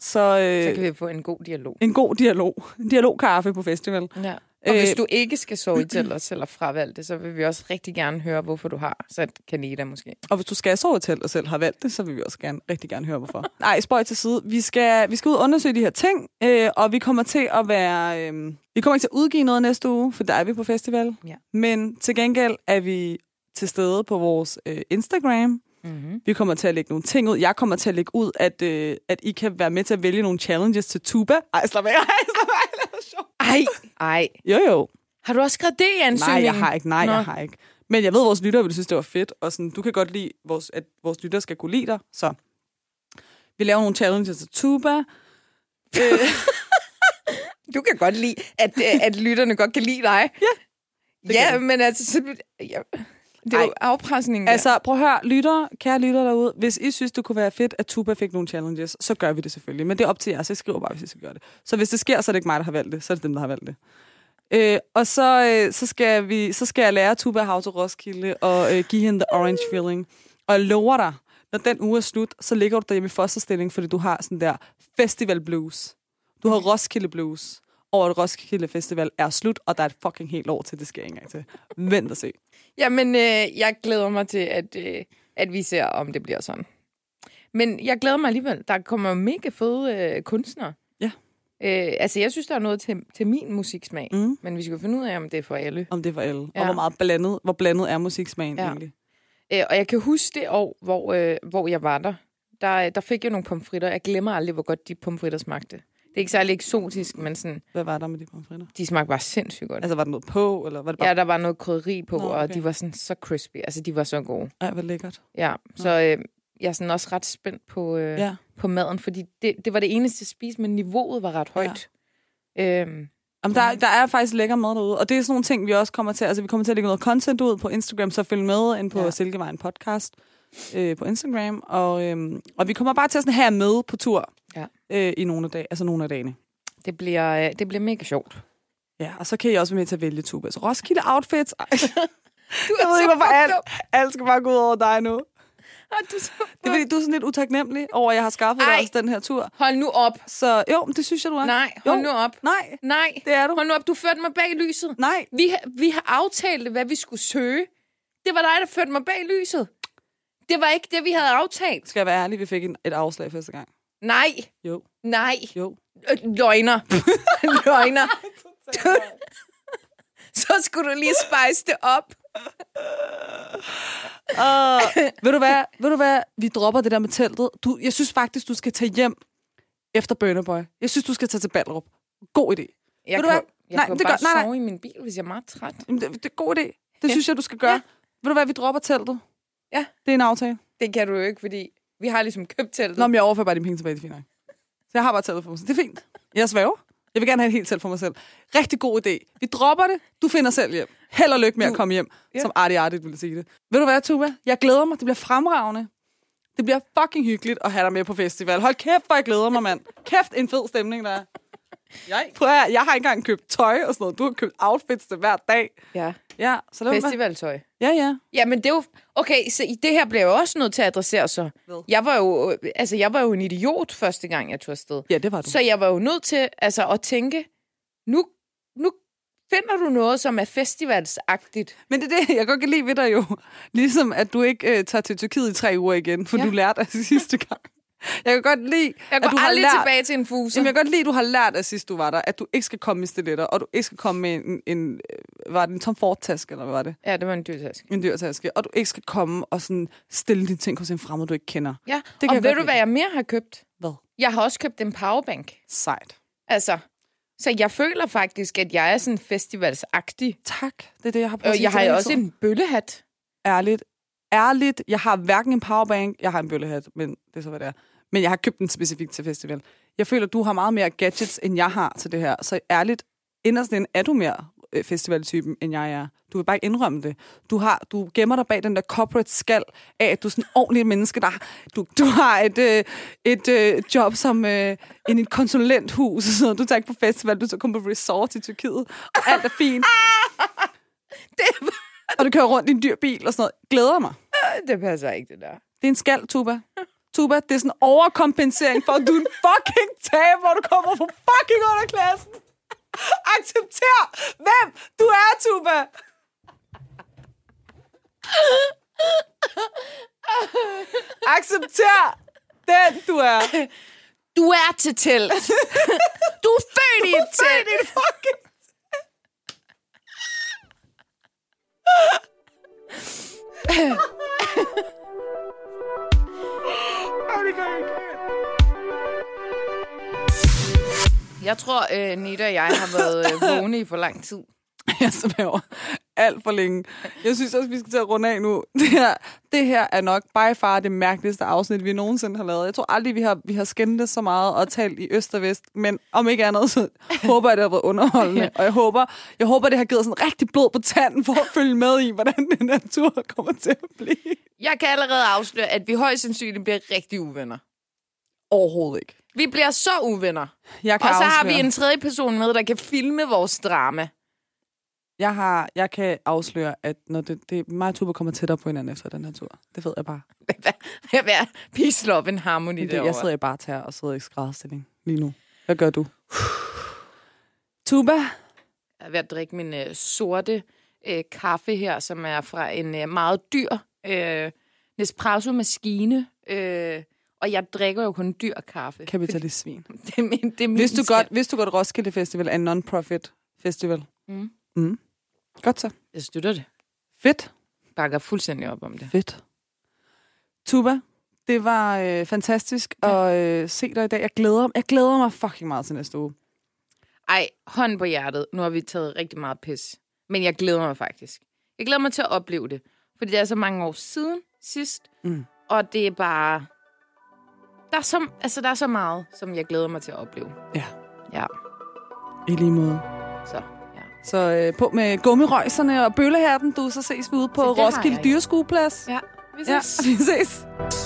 Speaker 1: Så, øh,
Speaker 2: Så kan vi få en god dialog.
Speaker 1: en god dialog. En dialogkaffe på festival.
Speaker 2: Ja. Og øh, hvis
Speaker 1: Øh,
Speaker 2: du ikke skal sove i telt og selv har fravalgt det, så vil vi også rigtig gerne høre, hvorfor du har sat Kaneda måske.
Speaker 1: Og hvis du skal sove i telt og selv har valgt det, så vil vi også gerne, rigtig gerne høre,
Speaker 2: <laughs>
Speaker 1: hvorfor. Nej, spøj til side. Vi skal, vi skal ud og undersøge de her ting, øh, og vi kommer til at være... Øh, vi kommer ikke til at udgive noget næste uge, for der er vi på festival.
Speaker 2: Ja.
Speaker 1: Men til gengæld er vi til stede på vores øh, Instagram.
Speaker 2: Mm-hmm.
Speaker 1: Vi kommer til at lægge nogle ting ud. Jeg kommer til at lægge ud, at, øh, at I kan være med til at vælge nogle challenges til tuba. Ej, slap af. <laughs> Ej, slap af. Det var sjovt.
Speaker 2: Ej, ej.
Speaker 1: Jo, jo.
Speaker 2: Har du også skrevet det i ansøgningen?
Speaker 1: Nej, jeg har ikke. Nej,
Speaker 2: Nå.
Speaker 1: jeg har ikke. Men jeg ved, at vores lyttere ville synes, det var fedt. Og sådan, du kan godt lide, vores, at vores lyttere skal kunne lide dig. Så vi laver nogle challenges til tuba.
Speaker 2: Du kan godt lide, at, øh, at lytterne godt kan lide dig. Ja.
Speaker 1: kan
Speaker 2: Ja,
Speaker 1: jeg.
Speaker 2: men altså, så, ja, det er jo afpresningen.
Speaker 1: Ja.
Speaker 2: der.
Speaker 1: Altså, prøv at høre, lyttere, kære lyttere derude. Hvis I synes, det kunne være fedt, at tuba fik nogle challenges, så gør vi det selvfølgelig. Men det er op til jer, så I skriver bare, hvis I skal gøre det. Så hvis det sker, så er det ikke mig, der har valgt det. Så er det dem, der har valgt det. Øh, og så, øh, så, skal vi, så skal jeg lære Tuba How to Roskilde og øh, give hende the orange feeling. Og jeg lover dig, når den uge er slut, så ligger du derhjemme i fosterstilling, fordi du har sådan der festival blues. Du har Roskilde blues over, at Roskilde Festival er slut, og der er et fucking helt år til, det sker ikke engang til. Vent og se.
Speaker 2: Jamen, øh, jeg glæder mig til, at, øh, at vi ser, om det bliver sådan. Men jeg glæder mig alligevel. Der kommer mega fede øh, kunstnere.
Speaker 1: Ja.
Speaker 2: Øh, altså, jeg synes, der er noget til, til min musiksmag.
Speaker 1: Mm.
Speaker 2: Men vi skal jo finde ud af, om det er for alle.
Speaker 1: Om det var alle. Ja.
Speaker 2: Ja.
Speaker 1: Og hvor meget blandet, hvor blandet er musiksmagen
Speaker 2: Ja.
Speaker 1: ja. egentlig.
Speaker 2: Øh, og jeg kan huske det år, hvor, øh, hvor jeg var der. der. øh, Der fik jeg nogle pomfritter. Jeg glemmer aldrig, hvor godt de pomfritter smagte. Det er ikke særlig eksotisk, men sådan,
Speaker 1: Hvad var der med de pomfritter?
Speaker 2: de smagte bare sindssygt godt.
Speaker 1: Altså, var der noget på, eller var det bare...
Speaker 2: Ja, der var noget krydderi på,
Speaker 1: Nå,
Speaker 2: okay. og
Speaker 1: okay.
Speaker 2: de var sådan så crispy. Altså, de var så gode.
Speaker 1: Ej, hvor lækkert.
Speaker 2: Ja, så øh, jeg er sådan også ret spændt på, øh, ja.
Speaker 1: Ja.
Speaker 2: på maden, fordi det, det var det eneste at spise, men niveauet var ret højt. Ja. Øhm,
Speaker 1: Jamen, der, der er faktisk lækker mad derude, og det er sådan nogle ting, vi også kommer til. Altså, vi kommer til at lægge noget content ud på Instagram, så følg med ind på
Speaker 2: Ja.
Speaker 1: ja. Silkevejen Podcast øh, på Instagram. Og, øhm, og vi kommer bare til at sådan have jer med på tur
Speaker 2: Ja.
Speaker 1: øh, i nogle af, dag, altså nogle af dagene.
Speaker 2: det, bliver, øh, det bliver mega sjovt.
Speaker 1: Ja, og så kan I også være med til at vælge Tuba. Så Roskilde Outfits. Ej,
Speaker 2: Du
Speaker 1: jeg ved ikke,
Speaker 2: <laughs>
Speaker 1: hvorfor alt,
Speaker 2: fucked up.
Speaker 1: alt skal bare gå ud over dig nu.
Speaker 2: Ej, du er så
Speaker 1: Det er fordi, du er sådan lidt utaknemmelig over, at jeg har skaffet
Speaker 2: Ej.
Speaker 1: dig også den her tur.
Speaker 2: Hold nu op.
Speaker 1: Så jo, men det synes jeg, du er.
Speaker 2: Nej, hold
Speaker 1: Jo.
Speaker 2: nu op.
Speaker 1: Nej,
Speaker 2: Nej,
Speaker 1: det er du.
Speaker 2: hold nu op. Du førte mig bag lyset.
Speaker 1: Nej,
Speaker 2: Vi, har- vi har aftalt, hvad vi skulle søge. Det var dig, der førte mig bag lyset. Det var ikke det, vi havde aftalt.
Speaker 1: skal jeg være ærlig, vi fik en, et afslag første gang.
Speaker 2: Nej,
Speaker 1: Jo,
Speaker 2: nej.
Speaker 1: jo.
Speaker 2: Øh, Løgner. <laughs> Løgner. <laughs> Så skulle du lige spice det op.
Speaker 1: Og Øh,
Speaker 2: <laughs>
Speaker 1: ved du hvad, ved du hvad, vi dropper det der med teltet. Du, jeg synes faktisk, du skal tage hjem efter Burner Boy. Jeg synes, du skal tage til Ballerup. God idé.
Speaker 2: Jeg
Speaker 1: Ved du
Speaker 2: kan,
Speaker 1: hvad?
Speaker 2: jeg
Speaker 1: Nej,
Speaker 2: kan
Speaker 1: det
Speaker 2: bare
Speaker 1: gør- nej, nej.
Speaker 2: sove i min bil, hvis jeg er meget træt.
Speaker 1: Jamen, det, det er god idé. Det synes jeg, du skal gøre.
Speaker 2: Ja.
Speaker 1: Ja. Ved du hvad, vi dropper teltet.
Speaker 2: Ja.
Speaker 1: Det er en aftale.
Speaker 2: Det kan du jo ikke, fordi vi har ligesom købt teltet.
Speaker 1: Nå, men jeg overfører bare dine penge tilbage, det er fint nok. Så jeg har bare teltet for mig selv. Det er fint. Jeg svæver. Jeg vil gerne have et helt telt for mig selv. Rigtig god idé. Vi dropper det. Du finder selv hjem. Held og lykke med du. at komme hjem,
Speaker 2: Ja.
Speaker 1: ja. som Artie Artie ville sige det. Ved du hvad, Tuba? Jeg glæder mig. Det bliver fremragende. Det bliver fucking hyggeligt at have dig med på festival. Hold kæft, hvor jeg glæder mig, mand. Kæft, en fed stemning, der er. Jeg, prøv at, høre, jeg har ikke engang købt tøj og sådan noget. Du har købt outfits til hver dag.
Speaker 2: Ja,
Speaker 1: Ja, så lad mig-
Speaker 2: festivaltøj.
Speaker 1: Ja, ja.
Speaker 2: Ja, men det er jo... Okay, så i det her bliver jeg jo også nødt til at adressere så.
Speaker 1: Hvad?
Speaker 2: Jeg var jo, øh, altså, jeg var jo en idiot første gang, jeg tog afsted.
Speaker 1: Ja, det var du.
Speaker 2: Mm. Så jeg var jo nødt til altså, at tænke, nu, nu finder du noget, som er festivalsagtigt.
Speaker 1: Men det er det, jeg godt kan lide ved dig jo. Ligesom at du ikke øh, tager til Tyrkiet i tre uger igen, for
Speaker 2: Ja.
Speaker 1: ja. du lærte af <laughs> sidste gang. Jeg kan godt lide,
Speaker 2: Jeg
Speaker 1: at du
Speaker 2: går
Speaker 1: har
Speaker 2: aldrig
Speaker 1: lært...
Speaker 2: tilbage til en fuser.
Speaker 1: Jamen, jeg kan godt lide, at du har lært af sidst du var der, at du ikke skal komme i stiletter, og du ikke skal komme med en, en øh, var det en Tom Ford-taske, eller hvad var det?
Speaker 2: Ja, det var en dyr taske.
Speaker 1: En dyrtaske. Og du ikke skal komme og sådan stille dine ting hos en fremmed, du ikke kender.
Speaker 2: Ja,
Speaker 1: kan
Speaker 2: det og
Speaker 1: jeg
Speaker 2: ved
Speaker 1: godt
Speaker 2: du, hvad
Speaker 1: lide.
Speaker 2: jeg mere har købt?
Speaker 1: Hvad?
Speaker 2: Jeg har også købt en powerbank.
Speaker 1: Sejt.
Speaker 2: Altså, så jeg føler faktisk, at jeg er sådan festivalsagtig.
Speaker 1: Tak. Det er det, jeg har prøvet at
Speaker 2: Og
Speaker 1: sige
Speaker 2: jeg
Speaker 1: til
Speaker 2: har
Speaker 1: dig
Speaker 2: jo
Speaker 1: hele
Speaker 2: også
Speaker 1: tiden.
Speaker 2: en bøllehat.
Speaker 1: Ærligt. Ærligt. Jeg har hverken en powerbank, jeg har en bøllehat, men det er så, hvad det er. Men jeg har købt den specifikt til festival. Jeg føler, du har meget mere gadgets, end jeg har til det her. Så ærligt, inderst inden er du mere øh, festivaltypen, end jeg er. Du vil bare ikke indrømme det. Du, har, du gemmer dig bag den der corporate skal af, at du er sådan en ordentlig menneske, der du, du har et, øh, et øh, job som øh, en, et konsulenthus. og sådan noget. Du tager ikke på festival, du tager kun på resort i Tyrkiet. Og alt er fint. og du kører rundt i en dyr bil og sådan noget. Glæder mig.
Speaker 2: Øh, Det passer ikke, det der.
Speaker 1: Det er en skal, Tuba. Tuba, det er sådan en overkompensering for, at du er en fucking taber, du kommer fra fucking underklassen. Accepter, hvem du er, Tuba. Accepter den, du er.
Speaker 2: Du er til telt. Du er født i et telt.
Speaker 1: Det er fucking... Ej, det gør jeg ikke.
Speaker 2: <laughs> Jeg tror, øh, Nita og jeg har været øh, vågne i for lang tid.
Speaker 1: <laughs> jeg svæver alt for længe. Jeg synes også, vi skal til at runde af nu. <laughs> Det her, det her er nok by far det mærkeligste afsnit, vi nogensinde har lavet. Jeg tror aldrig, vi har, vi har skændtes så meget og talt i øst og vest, men om ikke andet, <laughs> så håber jeg, det har været underholdende. Og jeg håber, jeg håber, det har givet sådan rigtig blod på tanden for <laughs> at følge med i, hvordan den her tur kommer til at blive.
Speaker 2: Jeg kan allerede afsløre, at vi højst sandsynligt bliver rigtig uvenner.
Speaker 1: Overhovedet ikke.
Speaker 2: Vi bliver så uvenner.
Speaker 1: Jeg kan
Speaker 2: Og så har
Speaker 1: afsløre.
Speaker 2: vi en tredje person med, der kan filme vores drama. <laughs>
Speaker 1: Jeg, har, jeg kan afsløre, at når det, det, mig og Tuba kommer tættere på hinanden efter den her tur. Det ved jeg bare.
Speaker 2: Jeg vil have peace, love and harmony
Speaker 1: Det,
Speaker 2: det, derovre.
Speaker 1: jeg sidder i bare tær og sidder i skrædderstilling lige nu. Hvad gør
Speaker 2: <sighs>
Speaker 1: du? Tuba,
Speaker 2: Jeg er ved at drikke min øh, sorte øh, kaffe her, som er fra en øh, meget dyr øh, Nespresso-maskine. Øh, og jeg drikker jo kun dyr kaffe.
Speaker 1: kapitalist svin.
Speaker 2: Det er min, det er min
Speaker 1: Vidste du,
Speaker 2: skat.
Speaker 1: godt, vidste du godt, Roskilde Festival er en non-profit festival?
Speaker 2: Mm.
Speaker 1: Mm. Godt så.
Speaker 2: Jeg støtter det.
Speaker 1: Fedt.
Speaker 2: Bakker fuldstændig op om det.
Speaker 1: Fedt. Tuba, det var øh, fantastisk at øh, se dig i dag. Jeg glæder, jeg glæder mig fucking meget til næste uge.
Speaker 2: Ej, hånd på hjertet. Nu har vi taget rigtig meget pis. Men jeg glæder mig faktisk. Jeg glæder mig til at opleve det. Fordi det er så mange år siden sidst.
Speaker 1: Mm.
Speaker 2: Og det er bare... Der er, så, altså, der er så meget, som jeg glæder mig til at opleve.
Speaker 1: Ja,
Speaker 2: Ja,
Speaker 1: i lige måde.
Speaker 2: så ja.
Speaker 1: Så øh, på med gummirøjserne og bøllehærden, du, så ses vi ude på
Speaker 2: Så det har jeg
Speaker 1: Roskilde
Speaker 2: ikke.
Speaker 1: Dyreskueplads.
Speaker 2: Ja, vi
Speaker 1: ja, <laughs>
Speaker 2: ses.
Speaker 1: vi ses.